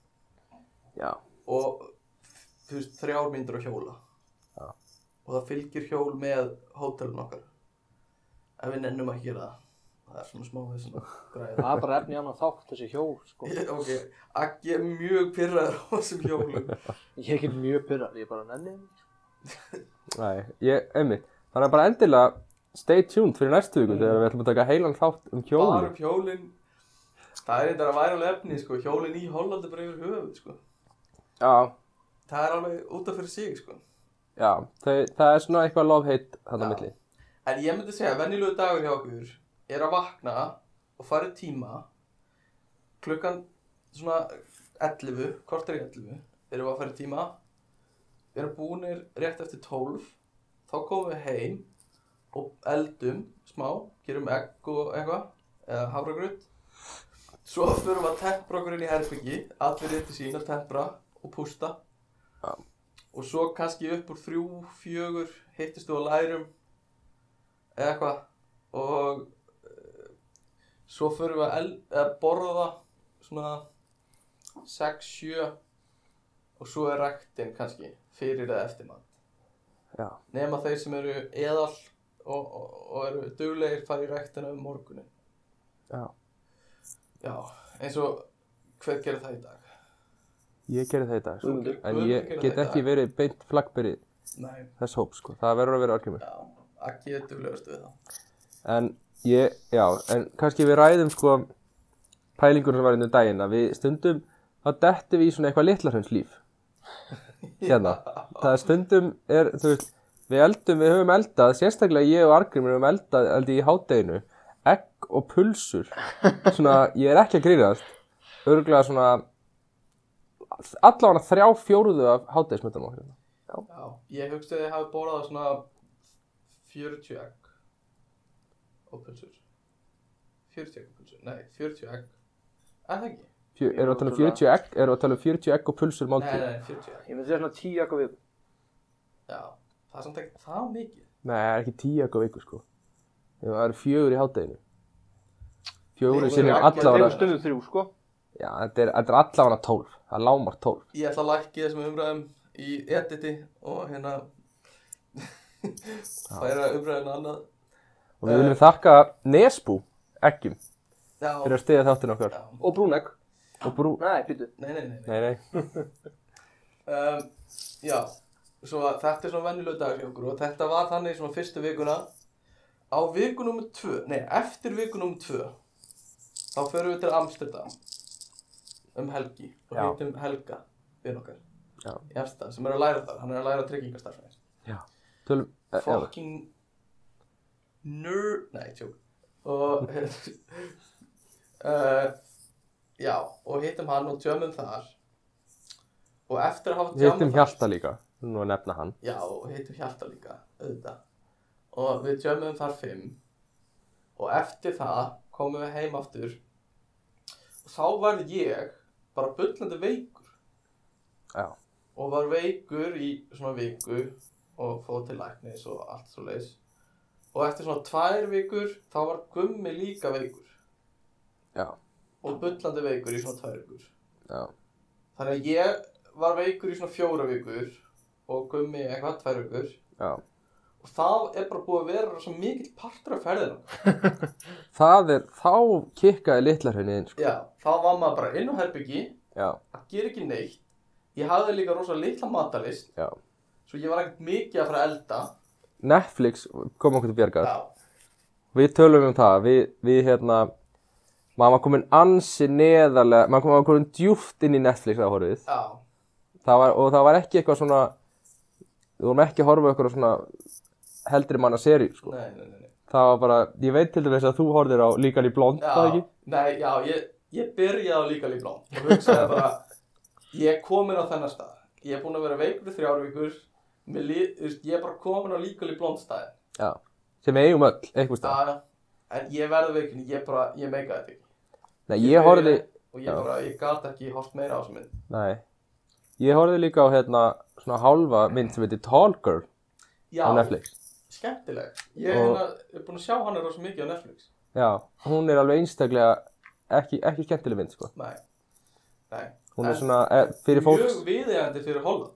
Speaker 1: Já.
Speaker 2: Og þú veist, þrjár myndur að hjóla.
Speaker 1: Já.
Speaker 2: Og það fylgir hjól með hótelun okkar. Ef við nennum að gera það. Það er svona smá þessan græða.
Speaker 3: Það er bara efni annan þátt þessi hjól sko.
Speaker 2: Ég- ok, Aggi er mjög pyrraður á þessum hjólum.
Speaker 3: Ég get mjög pyrrað, ég bara nenni þeim.
Speaker 1: Nei, ég, einmitt. Þannig að bara endilega stay tuned fyrir næstu viku þegar við ætlum að taka heilan þátt um
Speaker 2: Bara
Speaker 1: hjólu.
Speaker 2: um hjólin. Það er þetta að væri alveg efni, sko. Hjólin í Hollandi bara yfir höfuð, sko.
Speaker 1: Já,
Speaker 2: Það er alveg út af fyrir sig, sko.
Speaker 1: já. Það, það er svona eitthvað love-hate hann á
Speaker 2: Já.
Speaker 1: milli.
Speaker 2: En ég myndi segja að venjulegu dagur hjá okkur er að vakna og fara í tíma klukkan svona 11, kortir í 11 erum við að fara í tíma við erum búinir rétt eftir 12 þá komum við heim og eldum smá gerum egg og eitthvað eða hafragrut svo förum við að tempra okkur inn í herbyggi allir rétti sín að tempra og pústa
Speaker 1: Já.
Speaker 2: og svo kannski upp úr þrjú, fjögur hittist þú á lærum eða eitthvað og eh, svo förum við að, el, að borða svona 6-7 og svo er rektin kannski fyrir eða eftir mann
Speaker 1: Já.
Speaker 2: nema þeir sem eru eðal og, og, og eru duglegir fara í rektina um morgunin
Speaker 1: Já.
Speaker 2: já, eins og hver gerir það í dag
Speaker 1: Ég gerði það í dag, sko.
Speaker 3: Guðmundur.
Speaker 1: En
Speaker 2: Guðmundur
Speaker 1: ég
Speaker 2: gerði
Speaker 1: get
Speaker 2: það í
Speaker 1: ekki
Speaker 2: dag.
Speaker 1: verið beint flaggberið
Speaker 2: nei,
Speaker 1: þess hóp, sko. Það verður að vera argument.
Speaker 2: já, ekki er duglegast við það
Speaker 1: En ég, já, en kannski við ræðum sko pælingur sem var inn um daginn að við stundum, þá dettum við í svona eitthvað litlarhunds líf. Hérna, það er stundum, er, þú veist, við eldum, við höfum eldað, sérstaklega ég og Argrimur höfum eldað, eldið í hádeginu, egg og pulsur. Svona, ég er ekki að grínast, örgulega svona, allavega þrjá fjóruðu af hérna. hádegismöndum okkur.
Speaker 2: já, ég hugsti að þið hafi borðað svona 40 egg og pulsur 40 egg og pulsur, nei, 40 egg er það ekki?
Speaker 1: Fjö, erum við að tala um 40 egg, erum við að tala um 40 egg og pulsur
Speaker 2: nei,
Speaker 1: máltíð?
Speaker 2: nei, 40 egg,
Speaker 3: Ég myndi segja svona 10 eitthvað við
Speaker 2: já það er samt ekki það mikið
Speaker 1: Nei, það er ekki tíu ekkur viku sko. Ef Það eru fjögur í hádeginu. Fjögur
Speaker 2: Nei,
Speaker 1: sinni
Speaker 2: það er ekki-
Speaker 1: allavega,
Speaker 3: Þegar stundum þrjú sko
Speaker 1: já, þetta er, þetta er allavega tólf. Það er lámar tólf.
Speaker 2: ég ætla að lækki þessum umræðum í editi og hérna færa umræðin annað
Speaker 1: Og við
Speaker 2: Eh.
Speaker 1: viljum þakka Nesbú, ekkjum,
Speaker 2: já,
Speaker 1: fyrir að stiðja þáttinn okkar.
Speaker 2: já,
Speaker 3: Og brúnegg
Speaker 1: Og brú...
Speaker 3: Nei, býttu
Speaker 2: nei, nei, nei, nei.
Speaker 1: Nei, nei.
Speaker 2: Um, já, svo að þetta er svona venjuleg dagur hjá okkur og þetta var þannig svona fyrstu vikuna á viku nummer 2, nei, eftir viku nummer 2 þá förum við til Amsterdam um helgi og
Speaker 1: Já.
Speaker 2: hittum Helga við okkar
Speaker 1: Já.
Speaker 2: í Amsterdam sem er að læra það, hann er að læra tryggingastarfæðis
Speaker 1: Tölum, eh, já,
Speaker 2: fucking nerd nei, tjók og uh, já, og hittum hann og tjömmum þar og eftir að hafa
Speaker 1: við hittum
Speaker 2: tjömmum
Speaker 1: Hjalta líka. Nú að nefna hann.
Speaker 2: já, og hittum hjarta líka, auðvitað og við tjömmum þar fimm og eftir það komum við heim aftur og þá varð ég bara bullandi veikur
Speaker 1: Já.
Speaker 2: og var veikur í svona viku og fóð til læknis og allt svo leis og eftir svona tvær vikur þá var gummi líka veikur
Speaker 1: Já.
Speaker 2: og bullandi veikur í svona tvær vikur
Speaker 1: Já.
Speaker 2: þannig að ég var veikur í svona fjóra vikur og gummi eitthvað tvær vikur
Speaker 1: Já.
Speaker 2: og það er bara búið að vera svo mikill partur af ferðina
Speaker 1: Það er, þá kikkaði litlarhunni inn, sko.
Speaker 2: já, þá var maður bara inn á herbyggi
Speaker 1: Já.
Speaker 2: að gera ekki neitt ég hafði líka rosa litla matalist
Speaker 1: Já.
Speaker 2: svo ég var ekkert mikið að fara að elda
Speaker 1: Netflix kom okkur til bjargar.
Speaker 2: já,
Speaker 1: við tölum um það við, við hérna maður var komin ansi neðarlega maður kom- maður var komin djúft inn í Netflix áhorfið
Speaker 2: já,
Speaker 1: það var, og það var ekki eitthvað svona við vorum ekki að horfa okkur svona heldri manna seri sko.
Speaker 2: nei, nei, nei, nei.
Speaker 1: það var bara, ég veit til dæmis að þú horfir á líkan í blond,
Speaker 2: Já,
Speaker 1: það ekki?
Speaker 2: Nei, já, ég, ég byrjaði á líka líblón og hugsaði bara ég er komin á þennan stað ég er búin að vera veikur í þrjár vikur mér lí- þú veist, ég er bara komin á líka líblón stað
Speaker 1: Já. sem við eigum öll, einhvers stað
Speaker 2: Já, já. En ég verði veikin, ég bara, ég meika þetta ekki.
Speaker 1: Nei, ég horfði,
Speaker 2: Og ég
Speaker 1: já.
Speaker 2: bara, ég gat ekki hort meira á þessu mynd.
Speaker 1: nei Ég horfði líka á hérna svona hálfa mynd sem heitir Tall Girl
Speaker 2: Já,
Speaker 1: á Netflix
Speaker 2: skemmtileg. Ég
Speaker 1: Og-
Speaker 2: hérna, er búin að sjá hana rosa mikið á Netflix.
Speaker 1: Já, hún er alveg einstaklega ekki, ekki skemmtileg mynd sko
Speaker 2: Nei, nei.
Speaker 1: Hún er
Speaker 2: En
Speaker 1: svona eh, fyrir fólk
Speaker 2: Mjög viðeigandi fyrir Holland.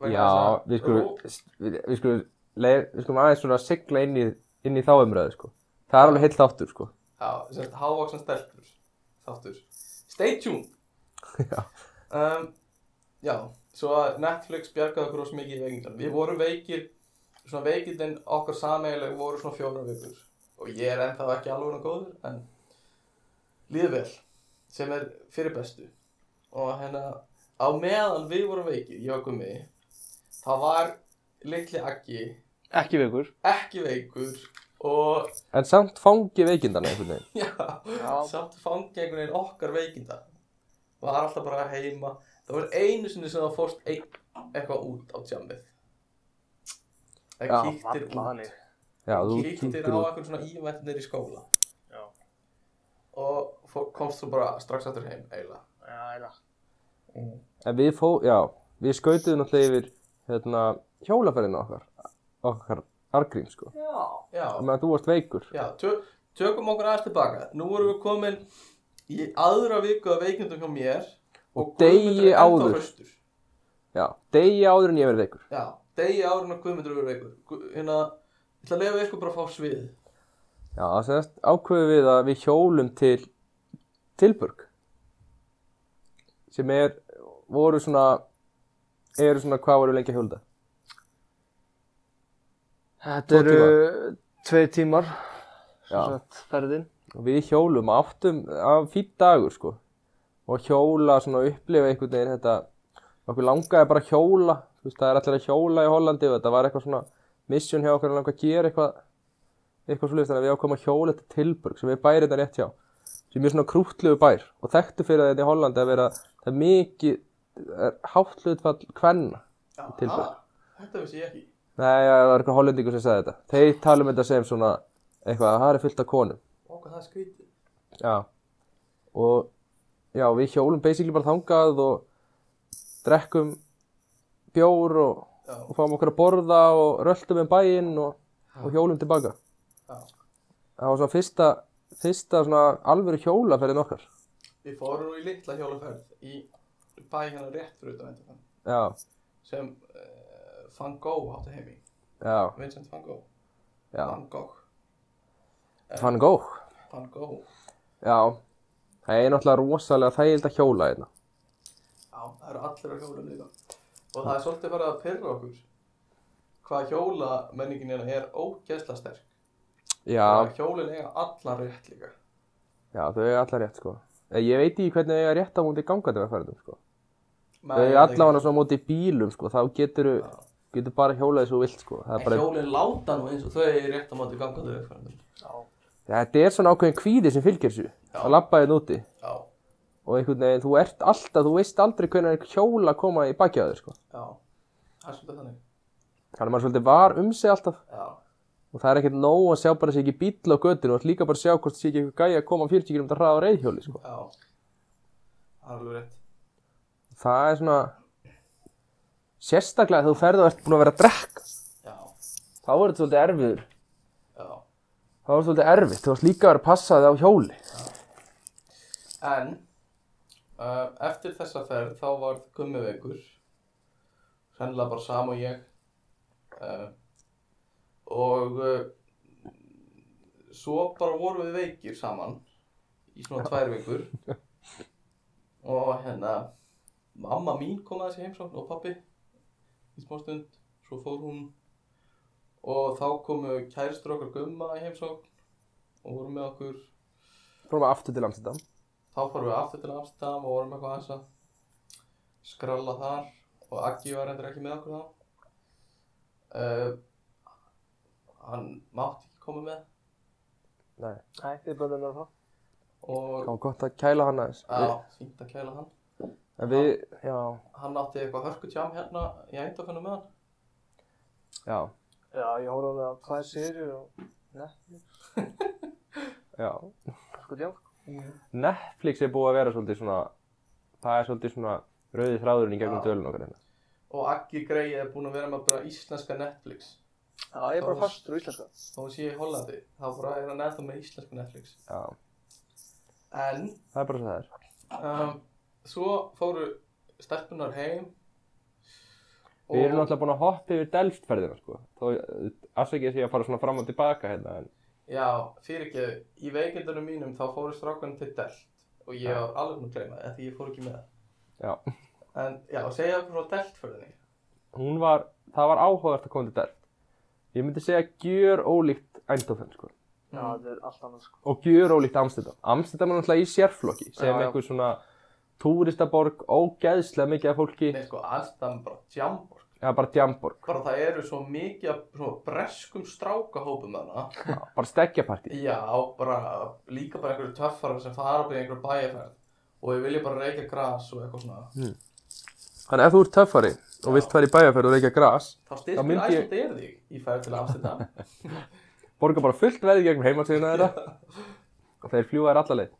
Speaker 2: Vegna
Speaker 1: Já,
Speaker 2: þess að-
Speaker 1: við skulum, við, við skulum, leið, við skulum aðeins svona sigla inn í, inn í þá umræðu, sko. Það er alveg heilt þáttur, sko.
Speaker 2: Já, sem sagt, hávaksan stelpur þáttur. Stay tuned!
Speaker 1: Já.
Speaker 2: Um, já, svo að Netflix bjargaði okkur rosa mikið í veikindunum. Við vorum veikir, svona veikindin okkar sameigileg voru svona fjóra vikur. Og ég er ennþá ekki alveg nóg góður, en líður vel, sem er fyrir bestu. Og hérna, á meðan við vorum veikir, ég og Gummi, það var litli Aggi,
Speaker 3: Ekki veikur.
Speaker 2: ekki veikur, og
Speaker 1: En samt fangi veikindana einhvern veginn.
Speaker 2: Já, samt fangi einhvern veginn okkar veikinda Var alltaf bara heima Það var einu sinni sem það fórst ein, eitthvað út á tjammið Það
Speaker 1: Já,
Speaker 2: kíktir
Speaker 3: varla
Speaker 2: út
Speaker 3: þannig.
Speaker 1: Já, þú
Speaker 2: Kíktir á
Speaker 1: kynntir út.
Speaker 2: eitthvað svona íventnir í skóla
Speaker 3: Já.
Speaker 2: Og fór, komst þú bara strax aftur heim eiginlega
Speaker 3: Já, eða.
Speaker 1: En við fó, já, við skautuðum náttúrulega yfir, hérna, hjólaferðina okkar, okkar argrím, sko.
Speaker 3: Já.
Speaker 2: Já,
Speaker 1: Þannig að þú varst veikur.
Speaker 2: já tö, tökum okkur aðeins tilbaka Nú vorum við komin í aðra viku af veikindum hjá mér
Speaker 1: Og
Speaker 2: Guðmundur
Speaker 1: degi
Speaker 2: er ennþá
Speaker 1: áður.
Speaker 2: hraustur.
Speaker 1: Já, degi áður en ég verið veikur.
Speaker 2: Já, degi árun og Guðmundur eru veikur Gu- Hérna, ég ætla að leifa ykkur bara að fá svið
Speaker 1: Já, það segast ákveðum við að við hjólum til Tilburg. Sem er, voru svona, eru svona, hvað voru lengi að hjóla þetta?
Speaker 3: Þetta
Speaker 1: Tvo
Speaker 3: eru tveir tímar,
Speaker 1: Já.
Speaker 3: sem sagt, ferðin.
Speaker 1: og við hjólum áttum af fýtt dagur sko og hjóla svona upplifa einhvern veginn þetta okkur langaði bara að hjóla þú veist það er allir að hjóla í Hollandi og þetta var eitthvað svona mission hjá okkur að langa að gera eitthvað eitthvað svolítið þannig að við ákvæmum að hjóla til Tilburg sem er bærið þetta rétt hjá sem er mjög svona krútluðu bær og þekktu fyrir þetta í Hollandi að vera það er mikið það er hátt hlutfall kvenna
Speaker 2: Já,
Speaker 1: Tilboð.
Speaker 2: ha, Þetta vissi ég ekki
Speaker 1: nei það var eitthvað hollendingur sem sagði þetta þeir talum þetta sem svona eitthvað að það er fullt af konum
Speaker 2: Ó, hvað það er skrítið
Speaker 1: Já og já, við hjólum basically bara þangað og drekkum bjór og,
Speaker 2: Já,
Speaker 1: og fáum okkur að borða og röltum um bæinn og, og hjólum tilbaka.
Speaker 2: já
Speaker 1: Það var svona fyrsta, fyrsta svona alvöru hjólaferðin okkar.
Speaker 2: Við fórum nú í litla hjólaferð í bæ hérna rétt fyrir utan þetta
Speaker 1: Já,
Speaker 2: sem uh, Van Gogh átti heimi
Speaker 1: já,
Speaker 2: Vincent Van Gogh
Speaker 1: já.
Speaker 2: Van Gogh
Speaker 1: Fann góð.
Speaker 2: Van Gogh
Speaker 1: Já, það er náttúrulega rosalega þægild að hjóla hérna.
Speaker 2: Já, það eru allir að hjóla líka Og það er svolítið farið að pyrra okkur hvað hjólamenningin hérna er ógeðsla sterk
Speaker 1: Já,
Speaker 2: Og Hjólin eiga allar rétt líka
Speaker 1: já, þau er allar rétt sko. Ég veit ekki hvernig þau er rétt á múti gangandi vegferðum sko.
Speaker 2: Men,
Speaker 1: Þau er allavega svona á móti bílum sko, þá getur getur bara hjólað þessu vilt sko. Það er
Speaker 2: En
Speaker 1: bara
Speaker 2: hjólin láta nú eins og þau er rétt á móti gangaðu vegferðum
Speaker 1: Þetta er svona ákveðin kvíði sem fylgir þessu að labba þér úti
Speaker 2: Já,
Speaker 1: og einhvern veginn, þú ert alltaf, þú veist aldrei hvernig hjóla koma í baki á þér sko.
Speaker 2: já Það er svolítið þannig
Speaker 1: Þannig að maður svolítið var um sig alltaf
Speaker 2: Já,
Speaker 1: og það er ekkert nóg að sjá bara sé ekki bíl á göttinu og ætti líka bara að sjá hvort sé ekki eitthvað gæja að koma 40 km hraða á reyðhjóli sko.
Speaker 2: já Það er alveg rétt
Speaker 1: Það er svona sérstaklega þegar þú ferð og ert búin að vera að drekka
Speaker 2: Já,
Speaker 1: þá er þetta svolítið erfiður
Speaker 2: já
Speaker 1: þá er þetta svolítið erfitt, þú varst líka að vera að passa þig á hjóli
Speaker 2: En uh, Eftir þessa ferð þá var Gummi veikur Sennilega bara sam og ég uh, Og uh, Svo bara vorum við veikir saman Í svona tvær vikur Og hérna Mamma mín kom að þessi heimsókn og pappi Í smá stund Svo fór hún Og þá komu kæristur okkar Gumma í heimsókn Og voru með okkur
Speaker 1: Fórum aftur til Amsterdam
Speaker 2: þá fórum við aftur til Amsterdam og vorum eitthvað aðeins að skralla þar og Aggi var reyndar ekki með okkur þá uh, hann mátti ekki koma með
Speaker 1: Nei,
Speaker 3: Nei, þið bönnum að það.
Speaker 1: þá
Speaker 2: og
Speaker 1: var gott að kæla hana aðeins
Speaker 2: já, fínt að kæla hann
Speaker 1: En við, já,
Speaker 2: hann átti eitthvað hörkutjám hérna í eindafennu með hann
Speaker 1: já
Speaker 4: Já, ég horf alveg á tvær serjur og Netflix,
Speaker 1: Já.
Speaker 4: sko djók.
Speaker 1: Netflix er búið að vera svolítið svona, það er svolítið svona rauði þráðurinn í gegnum
Speaker 2: Já.
Speaker 1: dölun okkar hérna.
Speaker 2: Og Aggi Grey er búin að vera með bara íslenska Netflix.
Speaker 4: Já, ég er bara
Speaker 2: Það var-
Speaker 4: fastur á íslenska.
Speaker 2: Þó hún sé í Hollandi, þá bara er hann eða með íslenska Netflix.
Speaker 1: Já,
Speaker 2: En
Speaker 1: það er bara svo það er.
Speaker 2: um, svo fóru stelpunar heim.
Speaker 1: Við erum náttúrulega búin að hoppa yfir delftferðina, sko. Þó, afsækja því að fara svona fram og tilbaka hérna, en
Speaker 2: Já, fyrir ekki, í veikindunum mínum þá fóru strákunum til Delt og ég var alveg búin að gleyma það, því ég fór ekki með það.
Speaker 1: já,
Speaker 2: En já, segja okkur frá Delt fyrir þenni.
Speaker 1: hún var, það var áhugavert að koma til delt. Ég myndi segja gjör ólíkt Eindhoven, sko.
Speaker 4: Já,
Speaker 2: Mm.
Speaker 4: þetta er allt annað, sko.
Speaker 1: og gjur ólíkt Amsterdam Amsterdam er náttúrulega í sérflokki sem
Speaker 4: Já, já.
Speaker 1: einhver svona túristaborg ógeðslega mikið af fólki
Speaker 2: Nei, sko, alltaf bara djambor.
Speaker 1: eða bara djamborg,
Speaker 2: Bara það eru svo mikið af svona breskum strákahópum þarna.
Speaker 1: bara steggjapartí
Speaker 2: Já, bara líka bara einhverju töffarar sem fara upp í einhverju bæjarferð og ég vilja bara reykja gras og eitthvað svona.
Speaker 1: Þannig ef þú ert töffari og vilt fara í bæjarferð og reykja gras
Speaker 2: Þá
Speaker 1: Já,
Speaker 2: styrkir
Speaker 1: myndi ég-
Speaker 2: æsland er þig í ferð til Amsterdam.
Speaker 1: borga bara fullt verðið gegnum heimatíðina þeirra og þeir fljúa þér alla leið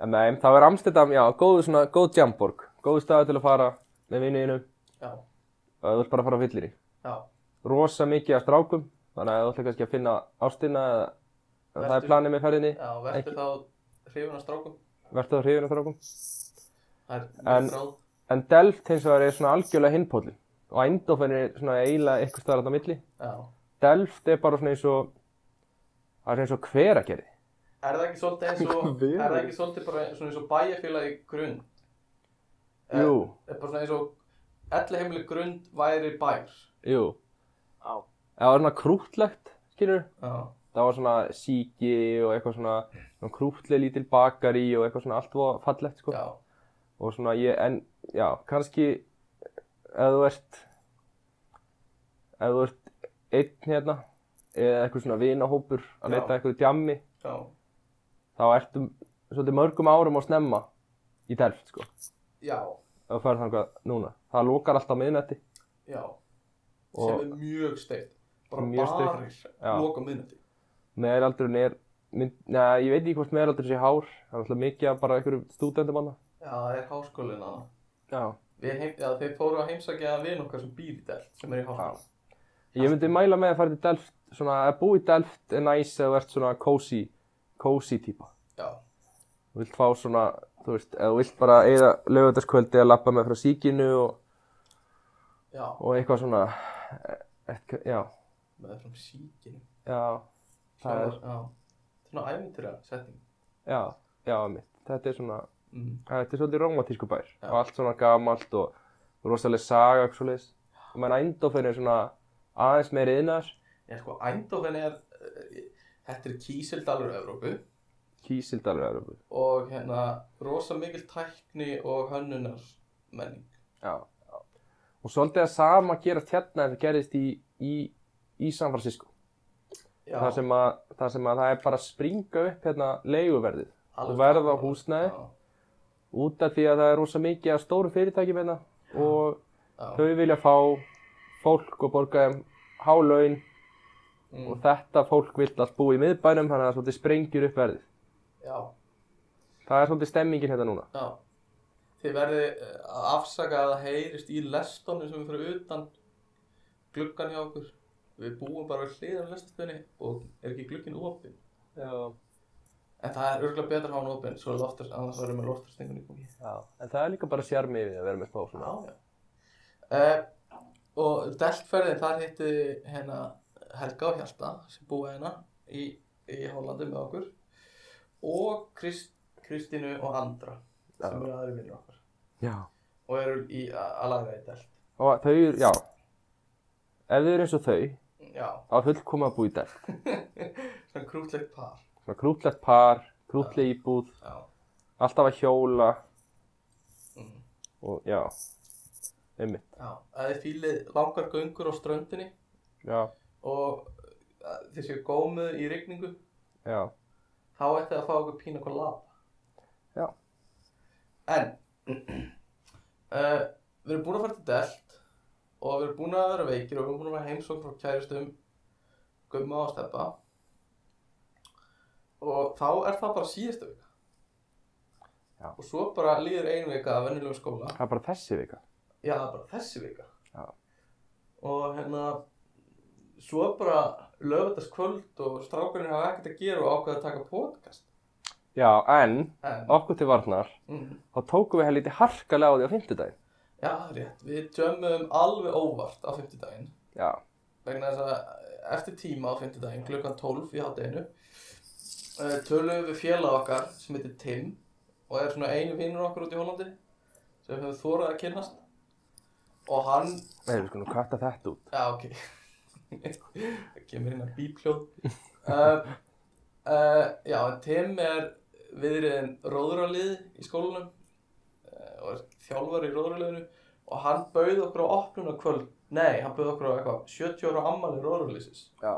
Speaker 1: en nei, þá er Amsterdam, já, góðu svona, góð djamborg góðu staðu til að fara með vinniðinu
Speaker 2: já,
Speaker 1: og þú vilt bara fara á fyllir í
Speaker 2: já,
Speaker 1: rosa mikið af strákum þannig að þú ætlar kannski að finna ástina eða ef það er
Speaker 2: Vertu-
Speaker 1: planið með ferðinni,
Speaker 2: já, verður þá hrifun af strákum.
Speaker 1: verður það hrifin af strákum
Speaker 2: Það er
Speaker 1: En-
Speaker 2: mjög gráð.
Speaker 1: En Delft hins vegar er svona algjörlega hinpóllin og Eindhoven er svona eiginlega eitthvað staðar á milli.
Speaker 2: Já.
Speaker 1: Delft er bara svona eins og, það er eins og hveragerði.
Speaker 2: Er það ekki svolítið eins og,
Speaker 3: Hvað
Speaker 2: er
Speaker 3: er
Speaker 2: það ekki svolítið bara svona eins og bæjarfélagi grund?
Speaker 1: Jú,
Speaker 2: Er bara svona eins og elli heimileg grund væri bær?
Speaker 1: jú.
Speaker 4: Já.
Speaker 1: Það var svona krútlegt, skilur.
Speaker 2: Já.
Speaker 1: Það var svona síki og eitthvað svona, svona krútleg lítil bakari og eitthvað svona allt voða fallegt, sko.
Speaker 2: Já.
Speaker 1: Og svona ég, en, já, kannski ef þú ert, ef þú ert einn hérna, eða eitthvað svona vinahópur að
Speaker 2: Já.
Speaker 1: leita að eitthvað djammi,
Speaker 2: Já.
Speaker 1: þá ertu svolítið mörgum árum að snemma í Delft sko ef
Speaker 2: Já.
Speaker 1: þú færð þangað núna það lokar alltaf á miðnætti
Speaker 2: Já.
Speaker 1: Og-
Speaker 2: Sem er mjög steikt. Bara
Speaker 1: Mjög steikt.
Speaker 2: barir
Speaker 1: Já.
Speaker 2: loka miðnætti.
Speaker 1: meðalaldurinn er mynd, neða, ég veit ekki hvort meðalaldurinn sé hár það er alltaf mikið af bara einhverjum stúdendum annað
Speaker 2: Já, það er háskólinn að
Speaker 1: já.
Speaker 2: Við heim, já, þeir fóru að heimsækja vin okkar sem býr í delt, sem er í háskólinn.
Speaker 1: ég myndi mæla með að fara til Delft svona að búa í Delft er næs ef þú ert svona cozy cozy típa
Speaker 2: Já.
Speaker 1: þú vilt fá svona þú veist ef þú vilt bara eigða lögutaskvöldi að lappa með frá síkinu og,
Speaker 2: Já.
Speaker 1: og eitthvað svona eh, eitthvað, já,
Speaker 2: Með þessum síkinu.
Speaker 1: já Það er-
Speaker 2: Já. Svona ævintýra setning.
Speaker 1: já, já mitt þetta er svona
Speaker 2: Mm.
Speaker 1: að þetta er svolítið romantísku bær
Speaker 2: Já.
Speaker 1: og allt svona gamalt og rosalega saga og svoleiðis. Ég menn Eindhoven er svona aðeins meiri innar
Speaker 2: Já, sko, Eindhoven er, eh, þetta er kísildalur Evrópu.
Speaker 1: Kísildalur er uppið
Speaker 2: og hérna rosa mikil tækni og hönnunar menning.
Speaker 1: já. og svolítið að sama gerast hérna en það gerist í, í, í San Francisco
Speaker 2: Já,
Speaker 1: það sem, að, það sem að það er bara að springa upp hérna leiguverðið
Speaker 2: alveg-
Speaker 1: og verð á húsnæði
Speaker 2: Já,
Speaker 1: út af því að það er rosa mikið af stóru fyrirtækjum hérna og
Speaker 2: já,
Speaker 1: þau vilja fá fólk og borga þeim hálaun og
Speaker 2: mm,
Speaker 1: þetta fólk vill allt búa í miðbænum þannig að það svolítið sprengjur upp verðið
Speaker 2: já,
Speaker 1: Það er svolítið stemmingin hérna núna.
Speaker 2: já. Þið verði að afsaka að það heyrist í lestónu sem er fyrir utan gluggan hjá okkur. Við búum bara við hliðan lestónu og er ekki glugginn opinn.
Speaker 1: Já,
Speaker 2: En það er örgulega betra að hafa hann opinn, svo er loftast, annars verður með loftastingun í gangi.
Speaker 1: já. En það er líka bara sjarmi við að vera með smá svona.
Speaker 2: Já, já. Uh, og deltferðin, þar hitti hérna Helga og Hjalta sem búa hérna í, í Hollandi með okkur og Krist, Kristínu og Andra sem
Speaker 1: Já.
Speaker 2: eru aðri vinnur okkar
Speaker 1: Já.
Speaker 2: og eru í að að laga í delt.
Speaker 1: Og þau eru, já. Ef þau eru eins og þau,
Speaker 2: Já,
Speaker 1: þá er fullkoma að búa í delt.
Speaker 2: svona krútlegt par.
Speaker 1: Svona krútlegt par, krútleg íbúð,
Speaker 2: Já.
Speaker 1: alltaf að hjóla
Speaker 2: Mm.
Speaker 1: og já. Einmitt.
Speaker 2: Já, það er fílið langar göngur á ströndinni
Speaker 1: Já,
Speaker 2: og eh, þið séu gómið í rigningu
Speaker 1: já.
Speaker 2: þá ætti að fá okkur pína hvað lava.
Speaker 1: Já.
Speaker 2: En, uh, við erum búin að fara til Delt og við erum búin að vera veikir og við erum búin að vera heimsókn frá kæristum gumma og steppa og þá er það bara síðasta vika
Speaker 1: Já.
Speaker 2: og svo bara líður ein vika að venjulegum skóla
Speaker 1: Það er bara þessi vika.
Speaker 2: já, bara þessi vika
Speaker 1: Já.
Speaker 2: og hérna svo bara lögðast kvöld og strákurinn hafa ekkert að gera og ákveða að taka podcast
Speaker 1: Já, en
Speaker 2: en,
Speaker 1: okkur til varnar,
Speaker 2: mm,
Speaker 1: þá tókum við hér lítið harkalega á því á fimmtudaginn.
Speaker 2: já, rétt, við djömmum alveg óvart á 50 daginn
Speaker 1: Já,
Speaker 2: vegna þess að eh, eftir tíma á fimmtudaginn klukkan 12 í hátteginu uh, töluðum við félag okkar sem heitir Tim og er svona einu vinnur okkar út í Hollandi sem hefur þórað að kynnast og hann,
Speaker 1: nei, við skulum kvarta þetta út.
Speaker 2: já ok það kemur inn að bípljóð uh, uh, já, en Tim er viðriðin róðuralið í skólanum uh, og er þjálfar í róðuraliðinu og hann bauð okkur á opnuna kvöld nei, hann bauð okkur á eitthvað 70 ára ammali róðuraliðsins
Speaker 1: Já,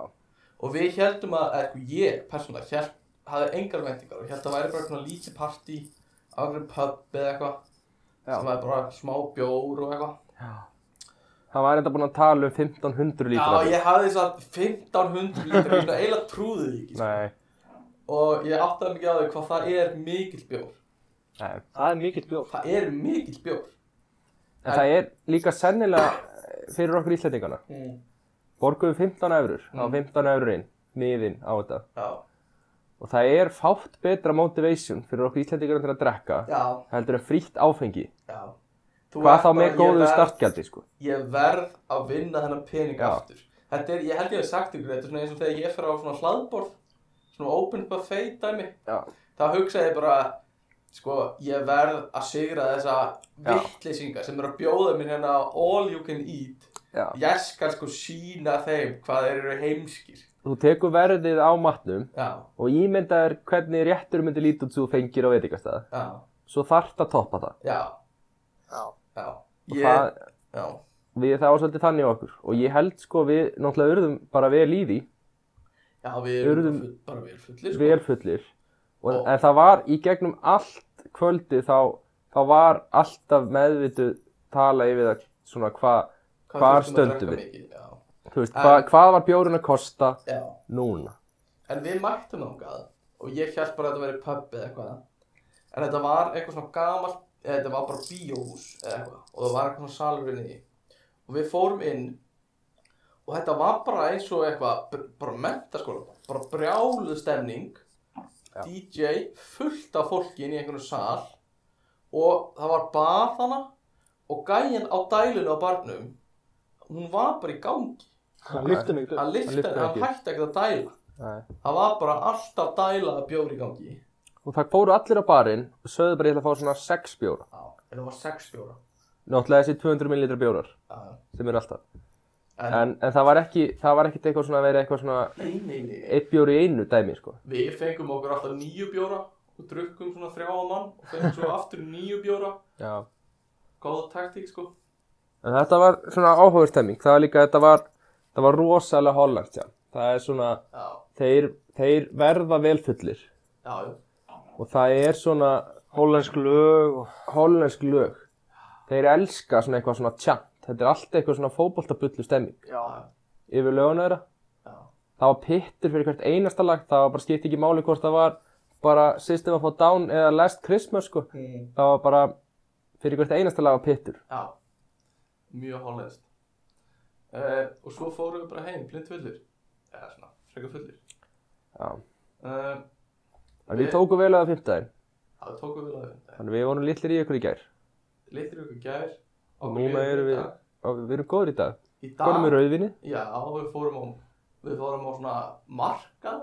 Speaker 2: og við heldum að, eða sko ég persónulega held, hafði engar vendingar og held að það væri bara svona lítið partí á einhverjum pub eða eitthvað
Speaker 1: Já.
Speaker 2: sem væri bara smá bjór og eitthvað
Speaker 1: það var enda búin að tala um 1500 lítra.
Speaker 2: Já, ég hafði þess að 1500 lítra, svona eiginlega trúði því ekki sko.
Speaker 1: Nei,
Speaker 2: og ég áttaði mikið á því hvað það er mikill bjór
Speaker 1: nei.
Speaker 4: Það er mikill bjór.
Speaker 2: það er mikill bjór
Speaker 1: En það er líka sennilega eh, fyrir okkur íslendingana.
Speaker 2: mm.
Speaker 1: Borgum við 15 eurur, á
Speaker 2: Mm.
Speaker 1: 15 eururinn, miðin á þetta.
Speaker 2: Já,
Speaker 1: Og það er fátt betra motivation fyrir okkur íslendingana til að drekka,
Speaker 2: já,
Speaker 1: heldur en frítt áfengi.
Speaker 2: já Þú ert
Speaker 1: Hvað
Speaker 2: bara-
Speaker 1: þá með
Speaker 2: ég
Speaker 1: góðu
Speaker 2: verð-
Speaker 1: startgjaldi, sko.
Speaker 2: ég verð að vinna þennan pening
Speaker 1: Já.
Speaker 2: aftur þetta er, ég held ég hef sagt ykkur þetta er svona eins og þegar ég fer á svona hlaðborð svona open buffet dæmi
Speaker 1: Já.
Speaker 2: þá hugsa ég bara sko, ég verð að sigra þessa
Speaker 1: Já.
Speaker 2: vittlýsinga sem eru að bjóða mér hérna all you can eat
Speaker 1: Já.
Speaker 2: ég skal sko sína þeim hvað þeir eru heimskir
Speaker 1: Þú tekur verðið á matnum
Speaker 2: já,
Speaker 1: og ímyndaður hvernig réttur myndi líta út sem þú fengir á veitingastæða.
Speaker 2: já,
Speaker 1: Svo þarft að toppa það.
Speaker 2: já,
Speaker 4: Já.
Speaker 2: já
Speaker 1: Og
Speaker 2: ég,
Speaker 1: það,
Speaker 2: já,
Speaker 1: við, það var svolítið þannig á okkur. Og ég held sko við náttúrulega urðum bara vel í því,
Speaker 2: já, við erum
Speaker 1: Urðum-
Speaker 2: full, bara við erum fullir sko.
Speaker 1: vel fullir. Og,
Speaker 2: Og-
Speaker 1: en það var í gegnum allt kvöldi þá, þá var alltaf meðvituð tala yfir það svona hvað,
Speaker 2: Hvað
Speaker 1: hvar
Speaker 2: þurftum að
Speaker 1: stöndum
Speaker 2: drekka
Speaker 1: við?
Speaker 2: mikið, já,
Speaker 1: þú veist,
Speaker 2: En-
Speaker 1: hvað, hvað var bjórun að kosta
Speaker 2: já
Speaker 1: núna?
Speaker 2: En við mættum þangað og ég held bara að þetta væri pub eða eitthvað En þetta var eitthvað svona gamalt, eða þetta var bara bíóhús eða eitthvað Og það var eitthvað svona salur inn í Og við fórum inn og þetta var bara eins og eitthvað, br- bara mentaskóla, bara brjáluð stemning
Speaker 1: Já.
Speaker 2: DJ, fullt af fólki inn í einhvern sal Og það var bar þarna og gæinn á dælinu á barnum Hún var bara í gangi,
Speaker 4: Hann lyfti mig
Speaker 2: hann lyfti,
Speaker 1: lyfti
Speaker 2: hann
Speaker 1: ekki.
Speaker 2: hætti ekkert að dæla
Speaker 1: Nei.
Speaker 2: Það var bara alltaf dælaða bjór í gangi.
Speaker 1: Og það fóru allir á barinn og sögðu bara ég ætla að fá svona 6 bjóra.
Speaker 2: Já, en það var sex bjóra.
Speaker 1: Náttúrulega þessi 200 ml bjórar
Speaker 2: Já, já.
Speaker 1: sem eru alltaf.
Speaker 2: En, en
Speaker 1: En, en það var ekki, það var ekkit eitthvað svona að vera eitthvað svona
Speaker 2: nei, nei, nei.
Speaker 1: eitt bjór í einu dæmi, sko.
Speaker 2: Við fengum okkur alltaf nýju bjóra og drukkum svona þrjá á mann og fengum svo aftur nýju bjóra.
Speaker 1: Já.
Speaker 2: Góða taktík, sko.
Speaker 1: En þetta var svona áhugaverstemming. Það var líka, þetta var, það var rosalega hollangt, já. Það er svona,
Speaker 2: Já,
Speaker 1: þeir, þeir verða vel fullir.
Speaker 2: já, já.
Speaker 1: Og það er svona
Speaker 4: Hollensk lög og...
Speaker 1: hollensk lög. Þeir elska svona eitthvað svona tjant. Þetta er allt eitthvað svona fótboltabullu stemming
Speaker 4: Já.
Speaker 1: yfir löguna þeirra.
Speaker 2: Já.
Speaker 1: Það var pittur fyrir hvert einasta lag. Það var bara skipt ekki máli hvort það var bara System of a Down eða Last Christmas, sko.
Speaker 2: Mm.
Speaker 1: Það var bara fyrir hvert einasta lag var pittur.
Speaker 2: Já. Mjög hálflegst. Uh, og svo fórum við bara heim, blind fullir. Eða svona, frekar fullir.
Speaker 1: Já.
Speaker 2: Uh,
Speaker 1: En við tókum vel að það fymtdæðin.
Speaker 2: það tókum við laðið.
Speaker 1: Þannig við vorum litlir í ykkur í gær.
Speaker 2: Littir ykkur gær.
Speaker 1: Og
Speaker 2: okkur
Speaker 1: núna
Speaker 2: líður
Speaker 1: erum
Speaker 2: í
Speaker 1: við,
Speaker 2: dag.
Speaker 1: og við erum góður í dag.
Speaker 2: Í dag.
Speaker 1: Konum er rauðvinni.
Speaker 2: Já, við fórum á, við fórum á svona markað,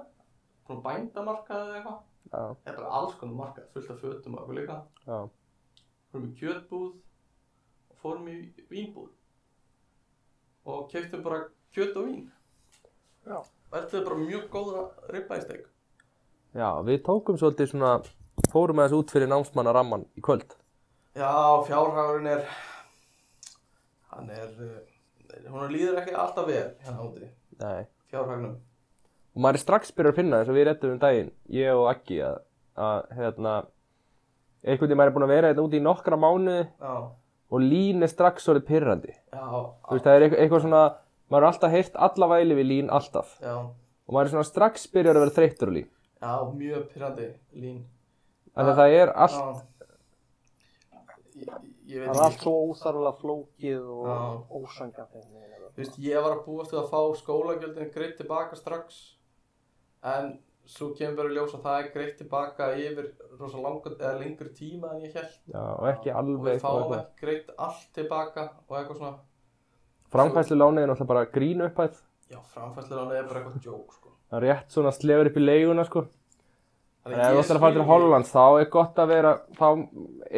Speaker 2: svona bændamarkað eða eitthvað.
Speaker 1: Já,
Speaker 2: Eða bara alls konar markað, fullt af fötum og eitthvað líka.
Speaker 1: já.
Speaker 2: Fórum í kjötbúð og fórum í vínbúð. Og keftum bara kjöt og vín.
Speaker 4: Já.
Speaker 2: Og þetta er bara mjög góða ribbaðisteg.
Speaker 1: Já, við tókum svolítið svona, fórum aðeins út fyrir námsmannaramman í kvöld.
Speaker 2: Já, fjárhagurinn er, hann er, eh, hún líður ekki alltaf vel hérna úti,
Speaker 1: Nei.
Speaker 2: fjárhagnum.
Speaker 1: Og maður er strax byrjað að finna þess að við réttum um daginn, ég og Aggi, að, að hérna, einhvern veginn maður er búin að vera hérna úti í nokkra mánuði
Speaker 2: Já,
Speaker 1: og lín er strax orðið pyrrandi
Speaker 2: Já,
Speaker 1: þú veist
Speaker 2: á-
Speaker 1: það er eitthvað, eitthvað svona maður er alltaf heyrt alla væli við lín alltaf
Speaker 2: já,
Speaker 1: og maður er svona strax byrjar að vera þreyttur á lín
Speaker 2: já, mjög pyrrandi lín.
Speaker 1: af því að það er allt
Speaker 2: Já. Ég, ég veit
Speaker 4: Það er allt svo óþarflega flókið
Speaker 2: Já.
Speaker 4: og ósangjant einhvern veginn.
Speaker 2: Þú veist, ég var að búast við að fá skólagjöldin greitt tilbaka strax en svo kemur bara í ljós að það er greitt tilbaka yfir rosa langur, eða lengur tíma en ég held
Speaker 1: já, og ekki
Speaker 2: og við
Speaker 1: alveg
Speaker 2: fáum ekki greitt allt tilbaka og eitthvað svona
Speaker 1: framkvæmslu lánið er náttúrulega bara grínu upphæð
Speaker 2: já, framfærslega er bara eitthvað jók sko.
Speaker 1: það er rétt svona slefur upp í leiguna sko
Speaker 2: Þannig
Speaker 1: Þannig að ef þú
Speaker 2: ég
Speaker 1: ætlar að fara
Speaker 2: skil
Speaker 1: til
Speaker 2: ekki-
Speaker 1: Hollands þá er gott að vera, þá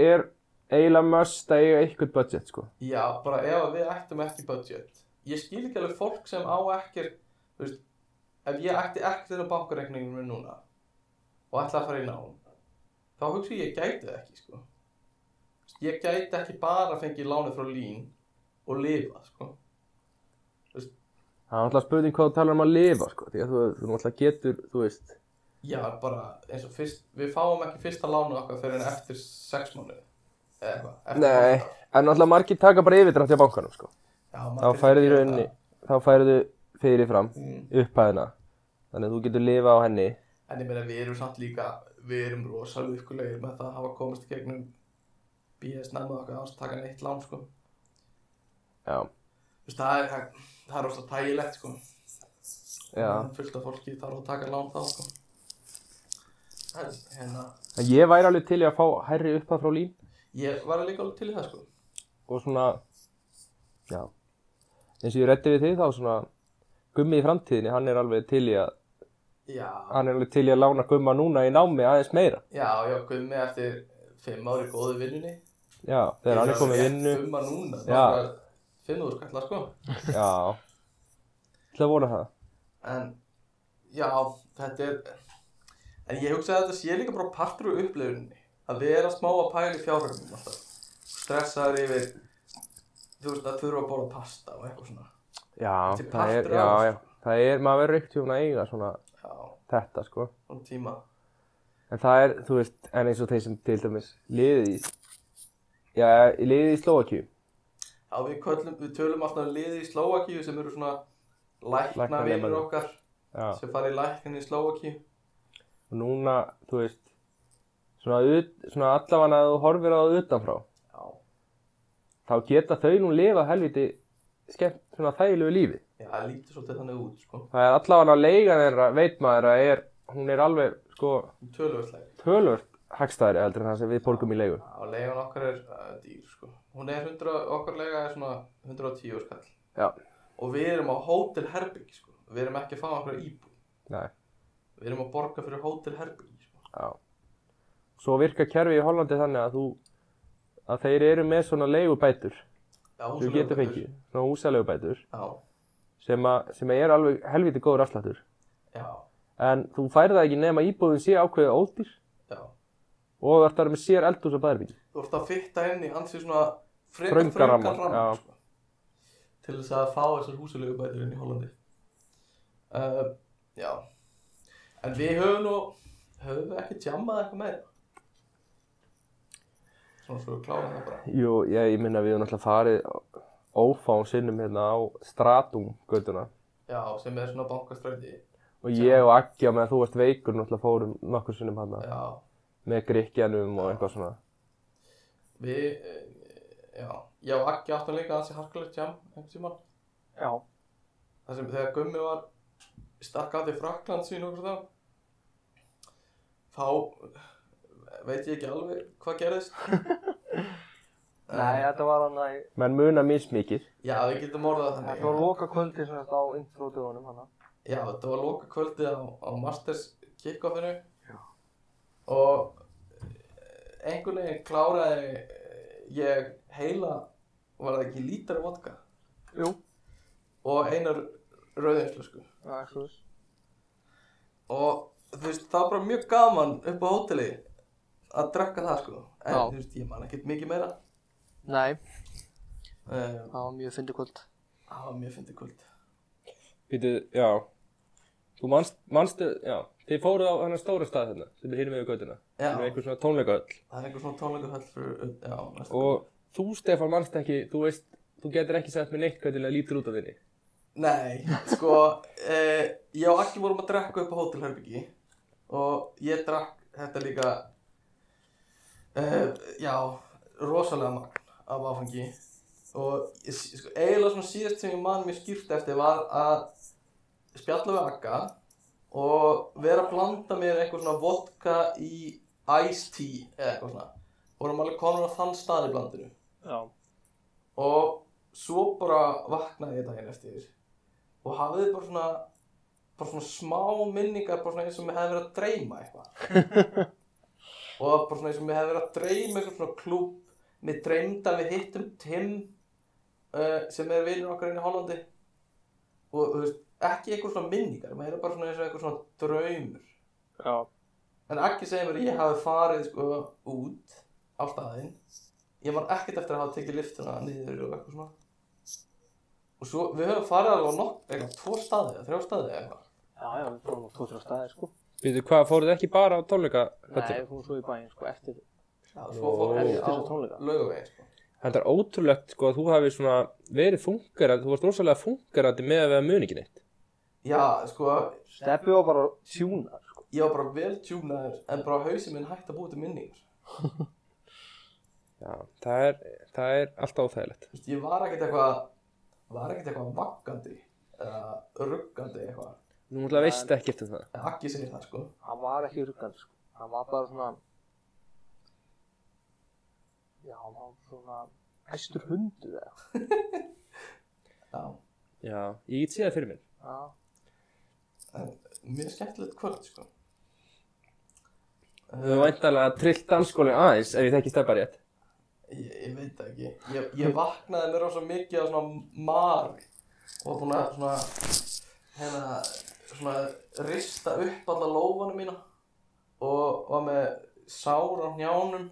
Speaker 1: er eiginlega möst að eiga eitthvað budget sko.
Speaker 2: já, bara ef að við ættum ekki budget ég skil ekki alveg fólk sem á ekki þú veist, ef ég ætti ekkert inn á bankareikningum minn núna og ætla að fara í nám þá hugsa ég, ég gæti það ekki sko. ég gæti ekki bara að fengi lánið frá lín og lifa sko.
Speaker 1: Það er alltaf spurning hvað þú talar um að lifa sko, því að þú, þú náttúrulega getur, þú veist,
Speaker 2: já, bara eins og fyrst við fáum ekki fyrsta lánið okkar fyrir en eftir sex mánuði eða eitthvað eftir
Speaker 1: Nei.
Speaker 2: banka.
Speaker 1: en náttúrulega margir taka bara yfirdrætt hjá bankanum sko.
Speaker 2: já,
Speaker 1: Þá
Speaker 2: maður
Speaker 1: færðu í
Speaker 2: gerir
Speaker 1: rauninni,
Speaker 2: það.
Speaker 1: þá færðu fyrirfram
Speaker 2: Mm.
Speaker 1: upphæðina, þannig að þú getur lifa á henni.
Speaker 2: En ég meina við erum samt líka, við erum rosalega ykkurlegir með það að hafa komist í gegnum BS nefnum okkar ást að taka neitt lán sko.
Speaker 1: Já,
Speaker 2: Þú veist, það er, það, það er rosalega tægilegt sko.
Speaker 1: já.
Speaker 2: En Fullt af fólki þarf að taka lán þá sko. En hérna,
Speaker 1: En ég væri alveg til í að fá hærri upphæð frá lín
Speaker 2: ég var líka alveg til í það sko.
Speaker 1: og svona, já, eins og ég reddi við þig þá svona, gummið í framtíðinni, hann er alveg til í að
Speaker 2: Já,
Speaker 1: hann er alveg til í að lána gumma núna í námi aðeins meira
Speaker 2: já, já, Gummi eftir fimm ári góðu vinnunni.
Speaker 1: já, þegar hann er komið í vinnu
Speaker 2: Gumma núna,
Speaker 1: Já.
Speaker 2: það er fimmúður skallar sko.
Speaker 1: já, til að vona það
Speaker 2: En já, þetta er En ég hugsa að þetta sé líka bara partur úr upplifuninni Að vera smá að pæla í fjárhæmum alltaf Stressaður yfir Þú veist að þurfa að borða pasta og eitthvað svona
Speaker 1: já,
Speaker 2: Þetta er
Speaker 1: það er,
Speaker 2: partur
Speaker 1: já,
Speaker 2: af þessu.
Speaker 1: já það er, maður verður eitt tjóna að eiga svona
Speaker 2: Já,
Speaker 1: þetta sko,
Speaker 2: um tíma
Speaker 1: en það er, þú veist en eins og þeir sem til dæmis liðið í já, liðið í Slovakíu
Speaker 2: Já, við, köllum, við tölum alltaf um liði í Slóakíu sem eru svona lækna
Speaker 1: Læknanemar.
Speaker 2: vinur okkar
Speaker 1: já,
Speaker 2: sem fara í læknin í Slóakíu
Speaker 1: og núna, þú veist svona, ut, svona allafan að þú horfir á það utanfrá
Speaker 2: Já,
Speaker 1: þá geta þau nú lifað helviti skemmt, svona þægilegu lífi
Speaker 2: já, það lítur svolítið þannig út, sko
Speaker 1: það er allavega að leigan þeirra, veit maður að er, hún er alveg, sko,
Speaker 2: Tölvöldlega
Speaker 1: tölvört hagstæðri heldur en það sem við borgum í leigun.
Speaker 2: Já, leigan okkar er uh, dýr, sko. Hún er 100, okkar leiga er svona 110 skall.
Speaker 1: Já.
Speaker 2: Og við erum á hótelherbyggi, sko. Við erum ekki að fá okkar íbú.
Speaker 1: Nei.
Speaker 2: Við erum að borga fyrir hótelherbyggi, sko.
Speaker 1: Já. Svo virka kerfi í Hollandi þannig að þú, að þeir eru með svona leigubætur,
Speaker 2: Já,
Speaker 1: þú
Speaker 2: húsaleigubætur.
Speaker 1: getur fengið, svona húsaleigubætur,
Speaker 2: Já,
Speaker 1: sem, að, sem að er alveg helviti góður afslættur.
Speaker 2: já,
Speaker 1: En þú færð það ekki nema íbúðin sé ákveðið ódýr
Speaker 2: já.
Speaker 1: og þú ert að vera með sér eldús og bæðarbyggi.
Speaker 2: Þú ert að fitta inn í ansið svona frekar
Speaker 1: Þröngan
Speaker 2: þröngan
Speaker 1: ramma,
Speaker 2: ramma,
Speaker 1: já.
Speaker 2: sko. Til þess að fá þessar húsaleigubætur inn í Hollandi. Uh, já. En við höfum nú, höfum við ekki tjammað eitthvað meira? Svona svo við klára það bara.
Speaker 1: Jú, ég, ég minna við höfum náttúrulega farið ófáum sinnum hérna á stratumgötuna.
Speaker 2: Já, sem er svona bankastræti
Speaker 1: Og ég og Aggi á meðan þú varst veikur náttúrulega fórum nokkur sinnum hann
Speaker 2: Já,
Speaker 1: með grikkjanum og eitthvað svona.
Speaker 2: við eh, Já, ég og Akki áttum líka aðeins í harkulegt jam einhvern tímann
Speaker 4: Já,
Speaker 2: Það sem þegar Gummi var stakk að því Frakland sín okkur þá Þá veit ég ekki alveg hvað gerðist
Speaker 4: nei, þetta var hann að,
Speaker 1: Menn muna mismikið.
Speaker 2: Já, við getum orðað það
Speaker 4: þetta var
Speaker 2: þannig
Speaker 4: loka kvöldi sem þetta á intro-dögunum hann.
Speaker 2: Já, þetta var loka kvöldið á, á Masters kickoffinu og eh, einhvern veginn kláraði eh, ég heila var það ekki lítra vodka
Speaker 4: Jú,
Speaker 2: og einar rauðinslösku
Speaker 4: það er svo þess.
Speaker 2: og þú veist það var bara mjög gaman upp á hóteli að drakka það sko en
Speaker 4: Já.
Speaker 2: þú veist ég man ekkert mikið meira
Speaker 4: Nei,
Speaker 2: um,
Speaker 4: það var mjög fyndið kvöld.
Speaker 2: það var mjög fyndið kvöld
Speaker 1: Býtu, já. Þú manst, manstu, já. Þið fóruð á hennar stóra stað hérna, sem er hinum yfir göttuna.
Speaker 2: já,
Speaker 1: Sem er einhver svona tónleikaöll.
Speaker 2: það er einhver svona tónleikahöll fyrir já, næstu.
Speaker 1: Og þú Stefán manst ekki, þú veist, þú getur ekki sagt mér neitt hvernig það lítur út af þinni.
Speaker 2: Nei, sko, uh, ég og Akki vorum að drekka upp á hótelherbyggi og ég drakk þetta líka, uh, já, rosalega magn af áfengi og ég, sko, eiginlega svona síðast sem ég man mér skýrt eftir var að spjalla við Akka og vera að blanda mér eitthvað svona vodka í iced tea eða eitthvað svona. Vorum alveg konur á þann stað í blandinu
Speaker 4: Já.
Speaker 2: og svo bara vaknaði ég daginn eftir og hafði bara svona bara svona smá minningar bara svona eins og mér hefði verið að dreyma eitthvað og bara svona eins og mér hefði verið að dreyma eitthvað svona klúb mér dreymdi að við hittum Tim uh, sem er vinur okkar inn í Hollandi og þú veist, ekki eitthvað svona minningar maður er bara svona eins og eitthvað svona draumur
Speaker 4: Já.
Speaker 2: En ekki segja mér að ég hafi farið sko út á staðinn. Ég man ekkert eftir að hafa tekið liftuna niður og eitthvað svona. Og svo við höfum farið alveg á nokk, eitthvað, tvo staði eða þrjá staði eða eitthvað.
Speaker 4: Já, já, við fórum á tvo, þrjá staðir, sko.
Speaker 1: Býtu, hvað, fóruð þið ekki bara á tónleika?
Speaker 4: Nei, við fórum svo í bæinn, sko, eftir
Speaker 2: Já, Svo fór
Speaker 1: Ó.
Speaker 2: við
Speaker 4: Eftir
Speaker 2: á
Speaker 4: þessa tónleika?
Speaker 2: laugavegin sko.
Speaker 1: Þetta er ótrúlegt, sko, að þú hafi svona verið fungerandi, þú varst rosalega fungerandi með að vera muningin eitt.
Speaker 2: Já, sko,
Speaker 4: Steppi var bara tjúnar, sko.
Speaker 2: ég var bara vel tjúnaður en bara hausinn minn hætti að búa til minningar.
Speaker 1: Já, það er, það er alltaf óþægilegt.
Speaker 2: Þú veist, ég var ekkert eitthvað, var ekkert eitthvað vakkandi eða ruggandi eitthvað.
Speaker 1: Nú mútla veist ekki eftir það.
Speaker 2: En Akki segir það sko.
Speaker 4: Hann var ekki ruggandi, sko. Hann var bara svona... Já, hann var svona... Hæstur hundur, eða.
Speaker 2: Já,
Speaker 1: Já, ég get séð það fyrir mér.
Speaker 4: Já.
Speaker 2: mjög skemmtilegt kvöld sko.
Speaker 1: Þú væntalega trillt dansskólinn aðeins ef ég þekki stefna rétt.
Speaker 2: Ég, ég veit það ekki. Ég, ég vaknaði mér á svo mikið á svona mari og var búinn að svona, hérna, svona rista upp alla lófanum mína og var með sár á hnjánum.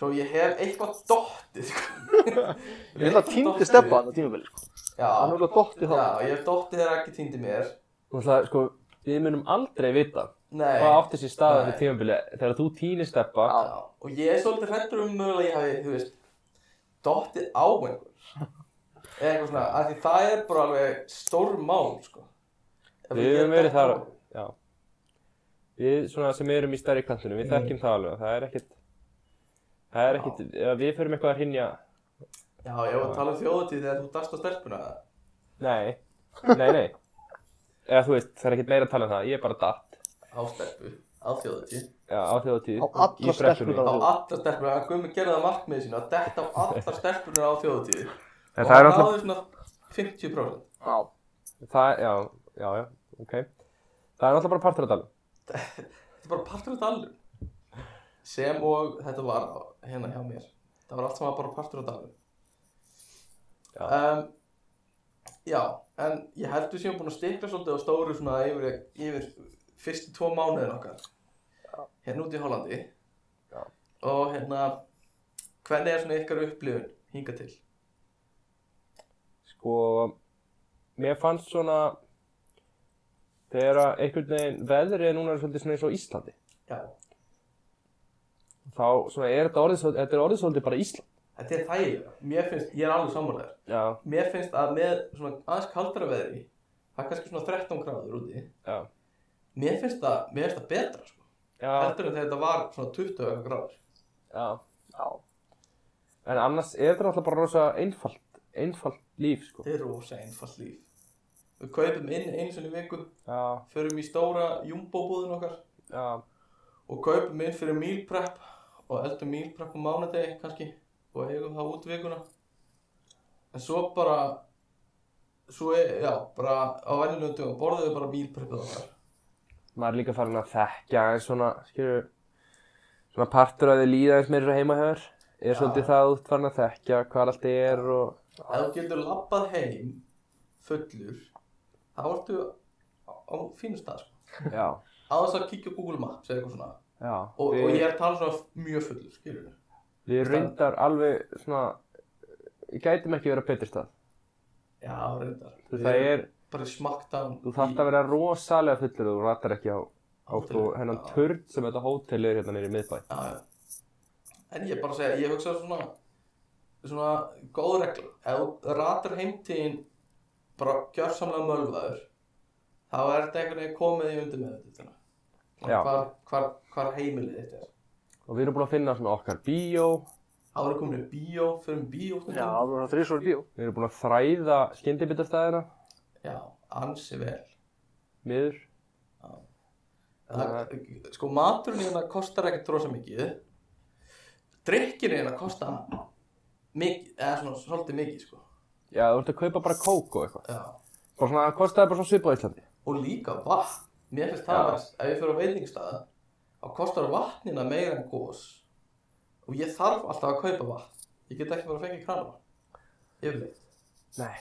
Speaker 2: Svo ég hef eitthvað dottið, sko.
Speaker 4: Ég held að týndi Steppa hann á tímabili, sko. Hann
Speaker 2: Já,
Speaker 4: var dottið
Speaker 2: já,
Speaker 4: þá.
Speaker 2: ég hef dottið þegar ekki týndi mér.
Speaker 1: Þú ætla, sko, við munum aldrei vita
Speaker 2: Nei.
Speaker 1: hvað átti sér staða
Speaker 2: Nei.
Speaker 1: þetta tímabili þegar þú týnir steppa
Speaker 4: Já.
Speaker 2: Já, og ég er svolítið hrættur um mögulega að ég hafi, þú veist, dottið á einhvern. Eða eitthvað svona, af því það er bara alveg stór mál, sko. Ef
Speaker 1: Við
Speaker 2: ég
Speaker 1: höfum verið
Speaker 2: dett
Speaker 1: þar,
Speaker 2: á-
Speaker 1: já. Við svona sem erum í stærri kantunum, við þekkjum það alveg, það er ekkert, það er ekkert, ef við förum eitthvað að hrinja,
Speaker 2: Já, ég var að tala um þjóðutíð þegar þú dast á stelpuna.
Speaker 1: nei, nei, nei, eða þú veist, það er ekkert meira að tala um það, ég er bara datt,
Speaker 2: Á stelpu, á þjóðutíð.
Speaker 1: já, á þjóðatíð,
Speaker 4: Á alla stelpur
Speaker 2: Á
Speaker 4: á
Speaker 2: alla stelpuna, að Guðmi gerði það markmið sína, að detta á alla stelpuna á þjóðutíð.
Speaker 1: En það er
Speaker 2: Og hann
Speaker 1: alltaf,
Speaker 2: náði svona 50%.
Speaker 4: Já.
Speaker 1: það, já, já, já, ok, það er alltaf bara partur að tala, um.
Speaker 2: Þetta er bara partur af dalnum. Sem og þetta var á- hérna hjá mér. Það var allt saman bara partur af dalnum.
Speaker 1: Já.
Speaker 2: Um, já, en ég heldur sem ég búin að stikla svolítið á stóru svona yfir, yfir fyrstu tvo mánuðin okkar.
Speaker 4: Já.
Speaker 2: Hérna út í Hollandi.
Speaker 1: Já.
Speaker 2: Og hérna, hvernig er svona ykkar upplifun hinga til?
Speaker 1: sko, mér fannst svona, þegar að einhvern veginn veðrið núna er svolítið svona eins og á Íslandi,
Speaker 2: Já.
Speaker 1: þá svona er þetta orðið, svol- þetta er orðið svolítið bara Ísland,
Speaker 2: Þetta er þægilega. Mér finnst, ég er alveg sammálaður.
Speaker 1: já,
Speaker 2: Mér finnst að með svona aðeins kaldara veðri, það er kannski svona 13 gráður úti,
Speaker 1: já,
Speaker 2: Mér finnst það, mér finnst það betra sko.
Speaker 1: já,
Speaker 2: Heldur en þegar þetta var svona 20 eitthvað gráður.
Speaker 1: já.
Speaker 4: Já.
Speaker 1: En annars er þetta náttúrulega bara rosa einfalt, einfalt líf, sko.
Speaker 2: Þetta er rosa einfalt líf. Við kaupum inn einu sinni í viku,
Speaker 1: Já,
Speaker 2: förum í stóra jumbo-búðin okkar
Speaker 1: já,
Speaker 2: og kaupum inn fyrir meal prep og eldum meal prep á mánudegi kannski og eigum það út vikuna. En svo bara, svo er, já, bara á venjulegum dögum borðum við bara meal prepið okkar.
Speaker 1: maður er líka farin að þekkja eins svona, skilju, svona partur að þið líða eins meira svo heimahöfur. Er svolítið það að þú ert farin að þekkja hvað allt er og,
Speaker 2: Ef þú getur labbað heim fullur, þá ertu á, á fínu stað sko.
Speaker 1: já,
Speaker 2: Á þess að kíkja á Google Maps eða eitthvað svona.
Speaker 1: já.
Speaker 2: og,
Speaker 1: við,
Speaker 2: og ég er að tala svona mjög fullur, skilur við.
Speaker 1: Við reyndar alveg svona, gætum ekki verið að betur stað.
Speaker 2: Já, reyndar.
Speaker 1: Þú veist, það er,
Speaker 2: Bara smakkdown.
Speaker 1: þú þarft að vera rosalega fullur og þú ratar ekki á, á sko, hennan
Speaker 2: Já.
Speaker 1: törn sem þetta hótel er hérna nýri miðbæ.
Speaker 2: Já, já. En ég er bara að segja, ég hugsa svona, svona góð regla ef þú ratar heimtíðin bara gjörsamlega mölvaður þá er þetta einhvern veginn komið í undir með þetta
Speaker 1: Já.
Speaker 2: hvar, hvar, hvar heimilið þitt er
Speaker 1: Og við erum búin að finna svona okkar bíó,
Speaker 2: þá erum komin í bíó, fyrir um bíó
Speaker 4: Já, það var þrísvöru bíó.
Speaker 1: við erum búin að þræða skyndibitastæðina,
Speaker 2: já, ansi vel
Speaker 1: miður.
Speaker 2: það, sko maturinn hérna kostar ekkert rosa mikið drikkin hérna kostar mikið, eða svona svolítið mikið sko
Speaker 1: Já, þú ert að kaupa bara kók og eitthvað.
Speaker 2: já.
Speaker 1: Bara svona, það kostaði bara svona svipað á Íslandi.
Speaker 2: og líka vatn mér finnst það
Speaker 1: Já.
Speaker 2: að ef ég fyrir á veitingstæða þá kostar vatnina meira en gós og ég þarf alltaf að kaupa vatn ég get ekki bara að fengja krana yfirleitt,
Speaker 1: Nei.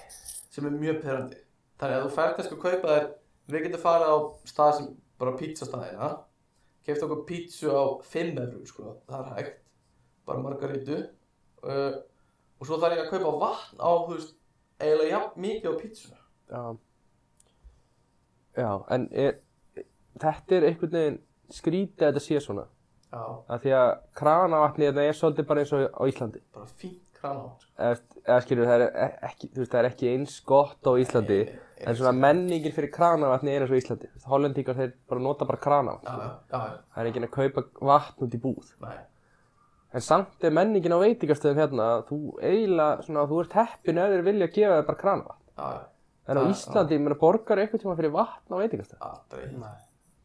Speaker 2: sem er mjög perandi þannig að þú fært kannski að kaupa þér við getum farið á stað sem bara pizzastæðina kefti okkur pizzu á 5 eurur sko, það er hægt bara margarítu uh, og svo þarf ég að kaupa vatn á þú veist, eiginlega jafn mikið á pizzuna
Speaker 1: Já. Já, en er, þetta er einhvern veginn skrítið að þetta sé svona.
Speaker 2: já,
Speaker 1: Af því að kranavatni þetta er svolítið bara eins og á Íslandi.
Speaker 2: bara fínt krana sko.
Speaker 1: Eða, eða skilur, það er e, ekki, þú veist, það er ekki eins gott á Íslandi.
Speaker 2: Nei, nei,
Speaker 1: En svona menningin fyrir kranavatni er eins og á Íslandi. Hollendingar þeir bara nota bara kranavatn.
Speaker 2: já, já, já,
Speaker 1: Það er enginn að kaupa vatn út í búð.
Speaker 2: nei
Speaker 1: En samt er menningin á veitingastöðum hérna að þú eiginlega, svona, þú ert heppin ef þeir vilja gefa þér bara kranavatn.
Speaker 2: já, já,
Speaker 1: En á
Speaker 2: Já,
Speaker 1: Íslandi, ég meina, borgar eitthvað tíma fyrir vatn á veitingastöðum.
Speaker 2: aldrei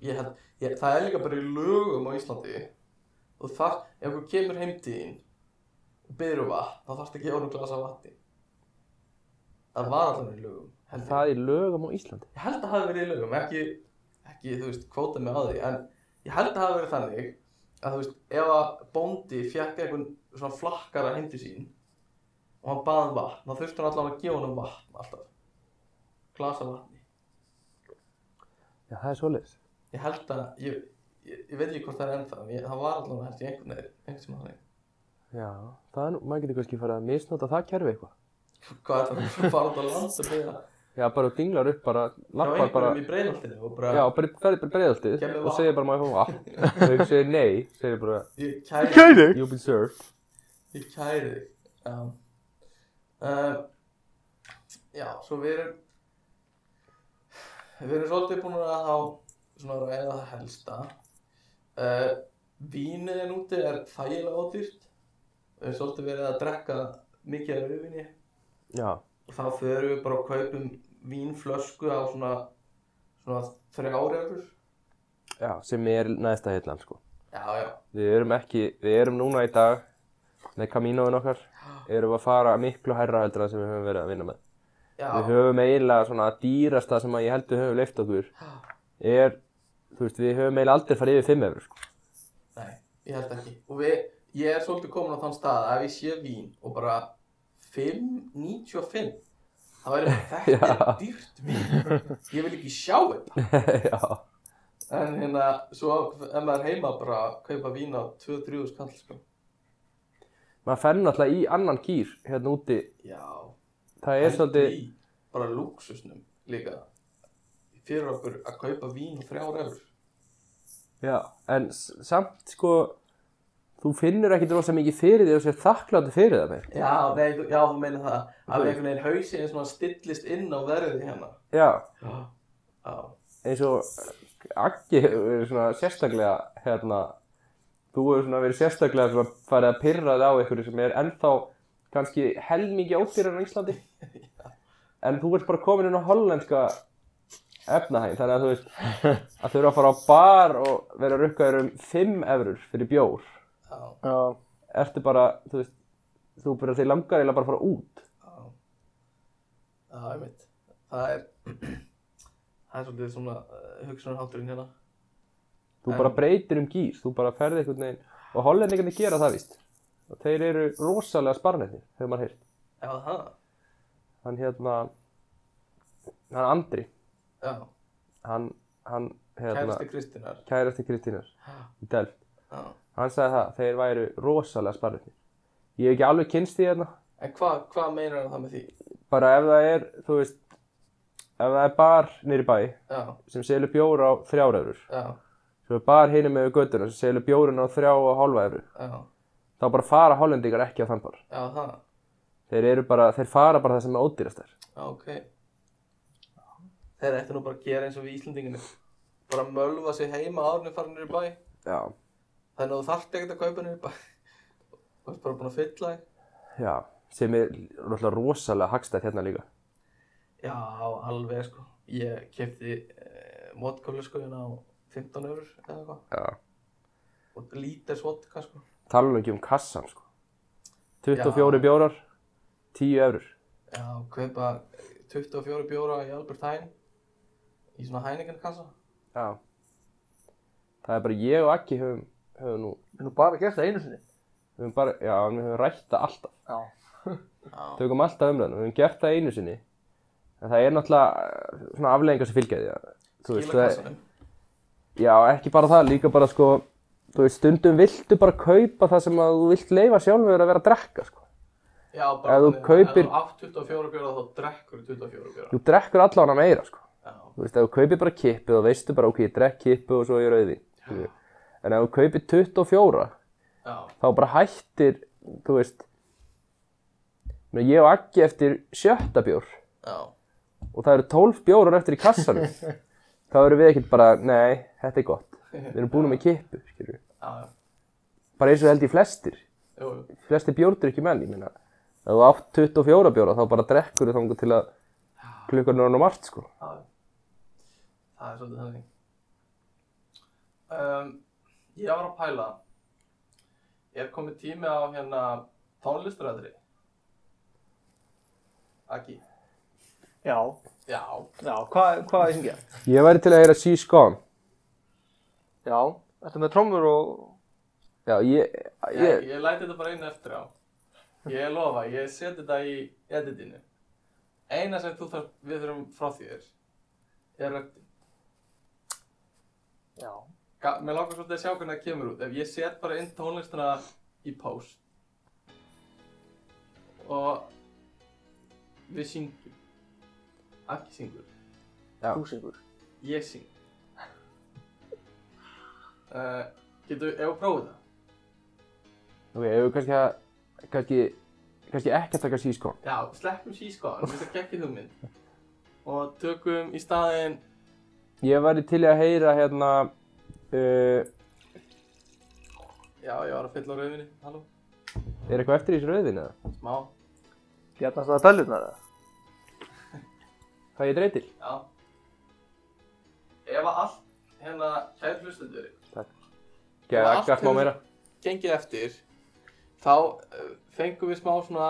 Speaker 2: ég held, ég, það er líka bara í lögum á Íslandi og þar, ef þú kemur heimtíðin og byrður vatn, þá þarfst að gefa hún glasa af vatni það var allavega í lögum held ég.
Speaker 1: Það er í lögum á Íslandi.
Speaker 2: ég held að það hafi verið í lögum ekki, ekki þú veist, kvóta mig á því en ég held að það hafi verið þannig að þú veist, ef að bóndi fjekk einhvern svona flakkara heimti sín og hann baði um vatn þá þurfti hann allavega að gefa honum vatn alltaf glasa af vatni
Speaker 1: Já, það er svoleiðis.
Speaker 2: ég held að ég, ég, ég veit ekki hvort það er ennþá en ég, það var allavega held ég einhvern veginn einhvern sem þannig
Speaker 1: Já, það er nú, maður getur kannski farið að misnota það kerfi eitthvað.
Speaker 2: hvað er það fyrir að fara út á land og byrja
Speaker 1: Já, bara þú dinglar upp bara,
Speaker 2: hjá
Speaker 1: lappar bara,
Speaker 2: einhverjum í breinaldinu og
Speaker 1: já,
Speaker 2: bara
Speaker 1: bara ferði bara breiðaltið
Speaker 2: Kemur
Speaker 1: og
Speaker 2: vatn.
Speaker 1: segir bara maður fá vatn. Þau segir nei, segir bara,
Speaker 2: ég kæri
Speaker 4: þig!
Speaker 1: you've been served.
Speaker 2: ég kæri þig já um, já, svo við erum við erum svolítið búin að þá svona ræða það helsta uh, vínið en úti er þægilega ódýrt við erum svolítið verið að drekka mikið af rauðvinni
Speaker 1: Já,
Speaker 2: og þá förum við bara og kaupum vínflösku á svona, svona þrjár eurur
Speaker 1: já, sem er næsta heitlan, sko.
Speaker 2: já, já,
Speaker 1: Við erum ekki, við erum núna í dag með kamínóin okkar, erum við að fara miklu hærra heldur en það sem við höfum verið að vinna með.
Speaker 2: já,
Speaker 1: Við höfum eiginlega svona dýrasta sem að ég held við höfum leift okkur er, þú veist, við höfum eiginlega aldrei farið yfir 5 efur, sko.
Speaker 2: nei, ég held ekki og við, ég er svolítið komin á þann stað að ef ég sé vín og bara 5,95 þá er ég bara þetta er dýrt vín ég vil ekki sjá þetta
Speaker 1: já.
Speaker 2: en hérna, svo ef maður er heima bara að kaupa vín á 2-3 skall sko.
Speaker 1: maður fer náttúrulega í annan gýr hérna úti
Speaker 2: já,
Speaker 1: það er
Speaker 2: pældu
Speaker 1: svolítið
Speaker 2: í bara lúksusnum líka fyrir okkur að kaupa vín á þrjár eurur
Speaker 1: já, en s- samt sko þú finnur ekkit rosa mikið fyrir því og sér þakkláttu fyrir það meir
Speaker 2: Já, nei, þú- já, þú meina það að einhvern veginn hausi eins og hann stillist inn á verði hérna
Speaker 1: já,
Speaker 2: Já, já,
Speaker 1: eins og eh, Aggi hefur verið svona sérstaklega hérna þú hefur svona verið sérstaklega svona farið að pyrra þig á einhverju sem er ennþá kannski helmingi ódýrar á Íslandi en þú ert bara komin inn á hollenska efnahæg þannig að þú veist að þau eru að fara á bar og vera rukkaður um 5 efrur fyrir bjór
Speaker 2: já,
Speaker 4: Já,
Speaker 1: ertu bara, þú veist, þú bara þeir langar eiginlega bara að fara út.
Speaker 2: já Já, ég veit Það er það er svolítið svona uh, hugsunarhátturinn hérna
Speaker 1: Þú
Speaker 2: En-
Speaker 1: bara breytir um gýr, þú bara ferði einhvern veginn og hollendingarnir gera það víst. Og þeir eru rosalega sparnetni, hefur maður heyrt.
Speaker 2: Já, það,
Speaker 1: Hann hérna, hann Andri,
Speaker 2: já,
Speaker 1: hann, hann hérna,
Speaker 2: kæmsti Kristínar
Speaker 1: kærasti Kristínar í Delft.
Speaker 2: Já,
Speaker 1: Hann sagði það, þeir væru rosalega sparnetni. Ég hef ekki alveg kynst því hérna,
Speaker 2: en hvað hva meinar hann það með því?
Speaker 1: bara ef það er, þú veist, ef það er bar nýri bæ
Speaker 2: Já,
Speaker 1: sem selur bjór á þrjáröfrur,
Speaker 2: já,
Speaker 1: sem er bar hinum með göttuna sem selur bjórun á þrjá og hálfa efru.
Speaker 2: já,
Speaker 1: þá bara fara hollendingar ekki á þann bar
Speaker 2: já, það
Speaker 1: þeir eru bara, þeir fara bara það sem er ódýrast þær
Speaker 2: Já, ok. Þeir ættu nú bara að gera eins og við Íslandinginu. Bara mölva sig heima árni fara niður í bæ.
Speaker 1: já,
Speaker 2: Þannig að þú þarft ekkert að kaupa niður í bæ. Þú ert bara búin að fylla þig.
Speaker 1: já, sem er náttúrulega rosalega hagstætt hérna líka
Speaker 2: Já, alveg sko. Ég kefti eh, vodkaflöskuðina á 15 eurur eða eitthvað.
Speaker 1: já,
Speaker 2: Og líters vodka sko.
Speaker 1: tala nú ekki um kassan sko 24 bjórar 10 eurur
Speaker 2: Já, kaupa 24 bjóra í Albert Heijn. Í svona Heineken kassa.
Speaker 1: já það er bara ég og Akki höfum, höfum nú,
Speaker 4: Við nú bara gert það einu sinni.
Speaker 1: höfum bara, já, en við höfum rætta alltaf
Speaker 4: Já.
Speaker 2: Já,
Speaker 1: tökum alltaf umræðan, við höfum gert það einu sinni en það er náttúrulega eh, svona afleggingar sem fylgja því að, þú veist,
Speaker 2: skila
Speaker 1: það,
Speaker 2: kassanum.
Speaker 1: já, ekki bara það líka bara sko, þú veist, stundum viltu bara kaupa það sem að þú vilt leifa sjálfur að vera að drekka, sko
Speaker 2: Já, bara
Speaker 1: Ef þú
Speaker 2: þannig að-
Speaker 1: kaupir-
Speaker 2: Ef þú átt 24 bjóra þá drekkur 24 bjóra.
Speaker 1: þú drekkur allan að meira, sko
Speaker 2: Já.
Speaker 1: þú veist, ef þú kaupir bara kippu og veistu bara, ok, ég drekk kippu og svo ég rauði en ef þú kaupir 24
Speaker 2: Já,
Speaker 1: þá bara hættir, þú veist ég meina, ég og Aggi eftir sjötta bjór
Speaker 2: já,
Speaker 1: og það eru 12 bjórar eftir í kassanum þá eru við ekkert bara, nei, þetta er gott við erum búin með kippu, skilur
Speaker 2: já, já,
Speaker 1: bara eins og held í flestir
Speaker 2: jú, jú.
Speaker 1: flestir bjórdur ekki menn, ég meina ef þú átt 24 bjóra þá bara drekkur þú þangur til að klukkan er orðin á margt, sko
Speaker 2: Já, já. það er svolítið þannig. Um, ég var að pæla, er komið tími á hérna tónlisturæðri? Aki?
Speaker 4: Já,
Speaker 2: Já,
Speaker 4: já, hvað hva er hingja?
Speaker 1: ég væri til að heyra She's Gone
Speaker 4: Já, þetta með trommur og...
Speaker 1: já, ég,
Speaker 2: ég,
Speaker 1: ég,
Speaker 2: ég læti þetta bara einu eftir á. Ég lofa, ég seti þetta í editinu. Eina sem þú þarf, við þurfum frá þér er röddin.
Speaker 4: Já.
Speaker 2: Ga- Mér langar svolítið að sjá hvernig það kemur út. Ef ég set bara inn tónlistina í post og við syngjum. Akki syngur.
Speaker 1: Já.
Speaker 4: Þú syngur.
Speaker 2: Ég syng. Uh, getur, ef við prófum það?
Speaker 1: ok, ef við kannski að kannski, kannski ekki að taka She's Gone
Speaker 2: Já, sleppum sko, sískoðan, þetta gekk í hugmynd. Og tökum í staðinn,
Speaker 1: ég væri til að heyra hérna uh,
Speaker 2: já, ég var að fylla á rauðinni, halló,
Speaker 1: er eitthvað eftir í þessu rauðin eða?
Speaker 2: smá,
Speaker 4: Bjarnast það að bellunar það?
Speaker 1: hvað ég dreytil?
Speaker 2: já. Ef að allt, hérna, kæð hlustendur,
Speaker 1: Gæða,
Speaker 2: allt
Speaker 1: gæða smá
Speaker 2: hefur-
Speaker 1: meira
Speaker 2: gengið eftir þá uh, fengum við smá svona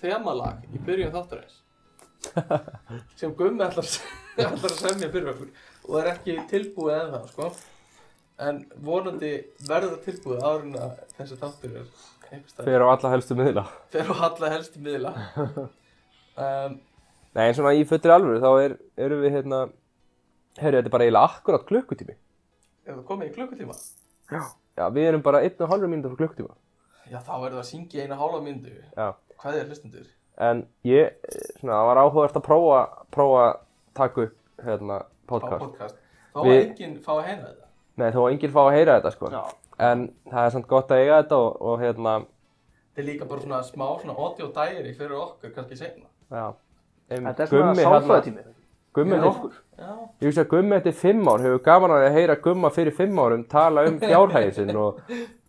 Speaker 2: þemalag í byrjun þáttarins sem Gummi ætlar, að se- ætlar að semja fyrir okkur og er ekki tilbúið eða það sko en vonandi verður það tilbúið árun að þessi þáttur er einhvers staðar.
Speaker 1: fyrir á alla helstu miðla
Speaker 2: fer og halla helst í miðla um,
Speaker 1: Nei, en svona í fullri alvöru, þá er, erum við hérna, heyrðu, þetta er bara eiginlega akkurát klukkutími.
Speaker 2: ef það komið í klukkutíma
Speaker 1: Já, við erum bara einn og halvur mínútur frá klukkutíma.
Speaker 2: já þá verður það að syngja í eina hálfa myndu
Speaker 1: Já.
Speaker 2: hvað er hlustendur?
Speaker 1: En ég, eh, svona, það var áhugavert að prófa, prófa að taka upp, hérna,
Speaker 2: á
Speaker 1: podcast.
Speaker 2: podcast þá var
Speaker 1: Við-
Speaker 2: enginn fá að heyra þetta
Speaker 1: Nei, þó að enginn fá að heyra þetta, sko.
Speaker 4: Já.
Speaker 1: En það er samt gott að eiga þetta og, og hérna,
Speaker 2: Þetta er líka bara svona smá svona audio diary fyrir okkur, kannski segna.
Speaker 1: já. Um,
Speaker 4: Þetta er svona sáfræðatími.
Speaker 1: Gummi,
Speaker 4: Fyrir
Speaker 1: hérna,
Speaker 4: okkur.
Speaker 2: Já,
Speaker 1: ég veist að Gummi eftir fimm ár hefur gaman að heyra Gumma fyrir fimm árum tala um fjárhæðin sinn og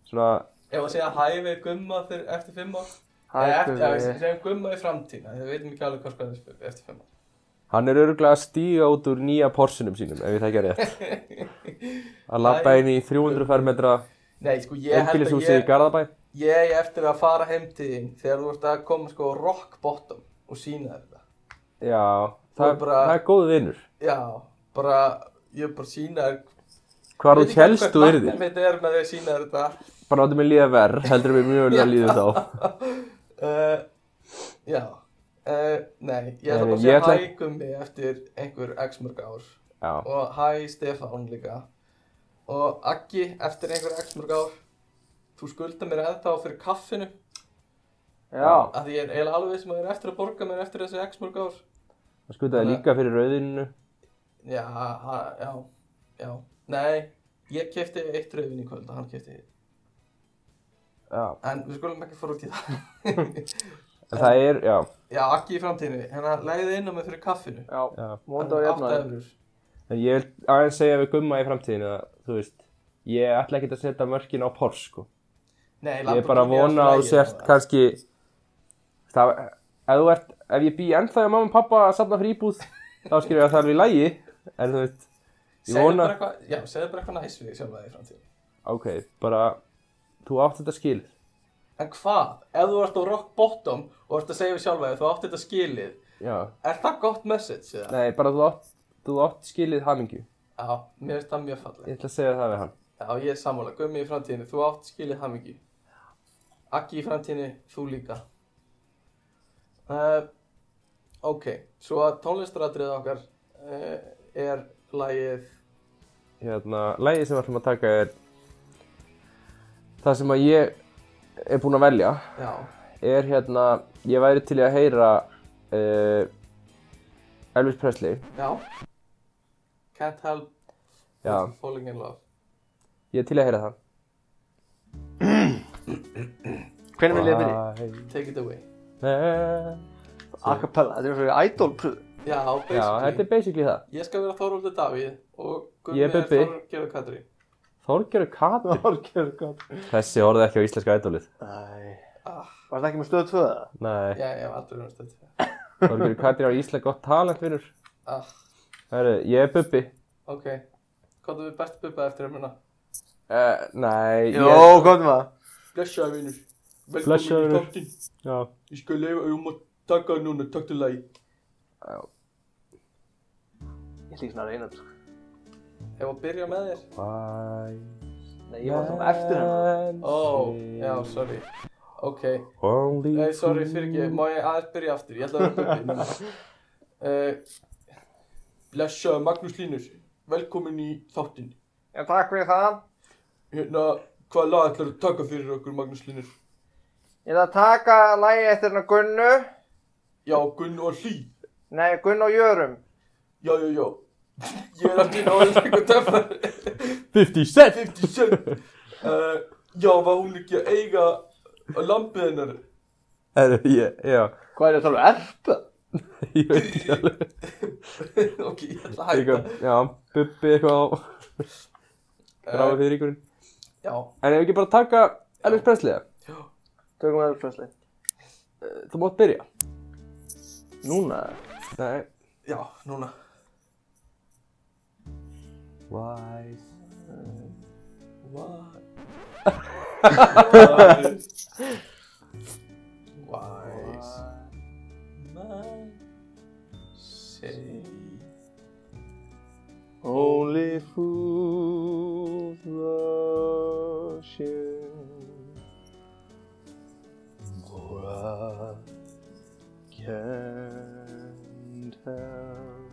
Speaker 1: svona,
Speaker 2: ef að segja hæ við gumma fyrir, eftir fimm ár.
Speaker 4: Hæ,
Speaker 2: Eða eftir,
Speaker 4: Gummi.
Speaker 2: já, við segjum gumma í framtína, við veitum ekki alveg hvað skoðum við eftir fimm ár.
Speaker 1: Hann er örgulega að stíga út úr nýja porsinum sínum, ef ég þekkja rétt. Að labba inn í 300 fermetra
Speaker 2: Nei, sko, ég held að
Speaker 1: einbýlishúsi í
Speaker 2: ég,
Speaker 1: Garðabæ.
Speaker 2: ég eigi eftir að fara heim til þín þegar þú ert að koma sko á rock bottom og sína þér þetta.
Speaker 1: Já,
Speaker 2: Þú
Speaker 1: það,
Speaker 2: er bara-
Speaker 1: það er góð vinnur.
Speaker 2: Já, bara, ég er bara að sína þér.
Speaker 1: Hvar þú
Speaker 2: Veit ekki
Speaker 1: helst þú
Speaker 2: hvað
Speaker 1: yrðir.
Speaker 2: markmið mitt er með því að sína þér þetta.
Speaker 1: Bara áttu mig líða verð, heldur mig mjög vel að líða þá.
Speaker 2: Uh, já, uh, nei, ég ætla bara
Speaker 1: Nei,
Speaker 2: að
Speaker 1: ég
Speaker 2: segja
Speaker 1: ætla-
Speaker 2: hæ gummi eftir einhver x mörg ár.
Speaker 1: Já,
Speaker 2: og hæ Stefán líka og Aggi eftir einhver x mörg ár þú skulda mér ennþá fyrir kaffinu
Speaker 4: Já.
Speaker 2: af því ég er eiginlega alveg sem að ég er eftir að borga mér eftir þessi x mörg ár
Speaker 1: það skutaði líka fyrir rauðinu.
Speaker 2: já, ha, já, já nei, ég kefti eitt rauðin í kvöld og hann kefti
Speaker 1: Já,
Speaker 2: en við skulum ekki fara út í það
Speaker 1: En það er, já,
Speaker 2: Já, Akki í framtíðinni, hérna legðið inn á mig fyrir kaffinu
Speaker 3: Já,
Speaker 1: já.
Speaker 3: vonandi að jafna
Speaker 2: Átta
Speaker 3: þér.
Speaker 2: evrur
Speaker 1: En ég vil aðeins segja við gumma í framtíðinu að, þú veist, ég ætla ekki að setja mörkin á Porsche, sko.
Speaker 2: Nei,
Speaker 1: Ég er bara að vona að þú sért kannski, það, ef þú ert, ef ég bý ennþá hjá mamma og pappa að safna fyrir íbúð, þá skilur ég að það er við lægi, en þú veist, ég
Speaker 2: Segðu
Speaker 1: vona,
Speaker 2: bara eitthvað, já, segðu bara eitthvað næs við sjálf að þið í framtíðinni
Speaker 1: ok, bara, þú átt þetta skilið.
Speaker 2: En hvað? Ef þú ert á rock bottom og ert að segja við sjálf að þú átt þetta skilið
Speaker 1: Já,
Speaker 2: Er það gott message, eða?
Speaker 1: nei, bara þú átt, þú átt skilið hamingju.
Speaker 2: Já, mér finnst það mjög falleg
Speaker 1: Ég ætla að segja það við hann.
Speaker 2: Já, ég er sammála, gummi í framtíðinni, þú átt skilið hamingi Akki í framtíðinni, þú líka uh, Ok, svo að tónlistaratriðið okkar uh, er lagið
Speaker 1: hérna, lægið sem við ætlum að taka er það sem að ég er búinn að velja
Speaker 2: Já,
Speaker 1: er hérna, ég væri til í að heyra uh, Elvis Presley
Speaker 2: já Can't help
Speaker 1: Já.
Speaker 2: falling in love
Speaker 1: ég er til í að heyra það
Speaker 3: Hvernig vil ég verið?
Speaker 1: Ah,
Speaker 2: Take it away
Speaker 1: Nei.
Speaker 3: Acapella, þetta er svo í idol pröðu.
Speaker 2: Já, basically
Speaker 1: Já, þetta er basically það
Speaker 2: Ég skal vera Þorvaldur Davíð og
Speaker 1: Ég
Speaker 2: Gummi
Speaker 1: er
Speaker 2: er
Speaker 1: Bubbi.
Speaker 2: Þorvaldur Katri
Speaker 1: Þorgerur Katri
Speaker 3: Þorgjörg gott.
Speaker 1: Þessi orðið ekki á íslenska ædólið
Speaker 3: Æ,
Speaker 2: ah,
Speaker 3: var þetta ekki með stöðu tvöða?
Speaker 1: Nei,
Speaker 2: Já, ég hef aldrei verið stöð
Speaker 1: Þorgerur Katri á íslenska gott talent vinnur
Speaker 2: ah,
Speaker 1: Herru, ég er Bubbi
Speaker 2: Ok, hvað er best Bubba eftir að muna?
Speaker 1: uh, Nei,
Speaker 3: Jó,
Speaker 1: ég
Speaker 3: komum að.
Speaker 2: Blessaði vinur
Speaker 1: Blessaður,
Speaker 2: Velkomin í
Speaker 1: vinur.
Speaker 2: þáttinn
Speaker 1: Já.
Speaker 2: Ég skal leifa, ég má taka núna, takk til lagi
Speaker 3: Ég lík svona að reyna þetta. sko.
Speaker 2: Ef að byrja með þér
Speaker 1: Bye
Speaker 3: Nei, ég var svona eftir hennar.
Speaker 2: Ó, já, sorry Ok,
Speaker 1: Only
Speaker 2: nei, sorry, fyrir ekki, má ég aðeins byrja aftur Ég ætla að vera Bubbi núna uh, Blessaði Magnús Línus Velkomin í þáttinn
Speaker 3: Já, takk fyrir það.
Speaker 2: Hérna, hvað lag ætlar að taka fyrir okkur Magnús Línus?
Speaker 3: Ég ætla að taka lægi eftir hennar Gunnu.
Speaker 2: Já, Gunn og Hlý
Speaker 3: Nei, Gunnu og Jörum.
Speaker 2: Já, já, já. Ég er allir náðið eitthvað töffar.
Speaker 1: 50 cent
Speaker 2: 50 cent. Uh, já, var hún ekki að eiga lampið hennar?
Speaker 1: Herru, ég, já
Speaker 3: Hvað er þetta alveg erpa?
Speaker 1: Ég veit ekki alveg
Speaker 2: ok, ég ætla að hætta.
Speaker 1: eitthvað, Já, bubbi eitthvað á Ráði
Speaker 2: Uh,
Speaker 1: fyrir ykkurinn
Speaker 2: já,
Speaker 1: En ef við ekki bara taka Elvis Presley
Speaker 3: Tökum við Elvis Presley.
Speaker 1: Þú mátt byrja
Speaker 3: Núna?
Speaker 1: Nei
Speaker 2: já, núna.
Speaker 1: Wise
Speaker 2: Why? Why? Why? Man. Say.
Speaker 3: Only fools rush in For I can't help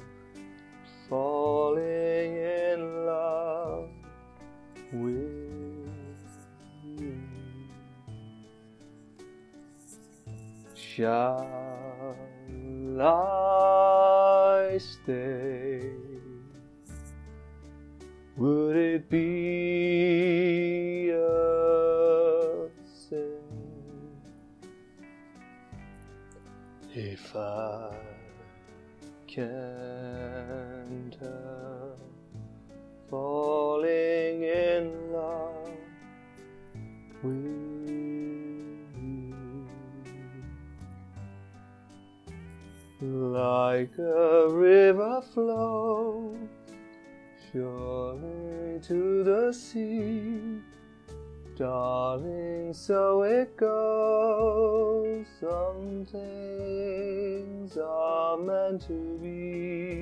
Speaker 3: falling in love with you Shall I stay would it be a sin if I can't help falling in love with you? Like a river flows surely to the sea. Darling, so it goes. Some things are meant to be.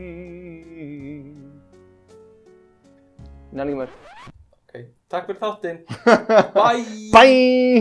Speaker 3: Nælingum er.
Speaker 2: Ok, takk fyrir þáttinn. Bye!
Speaker 3: Bye!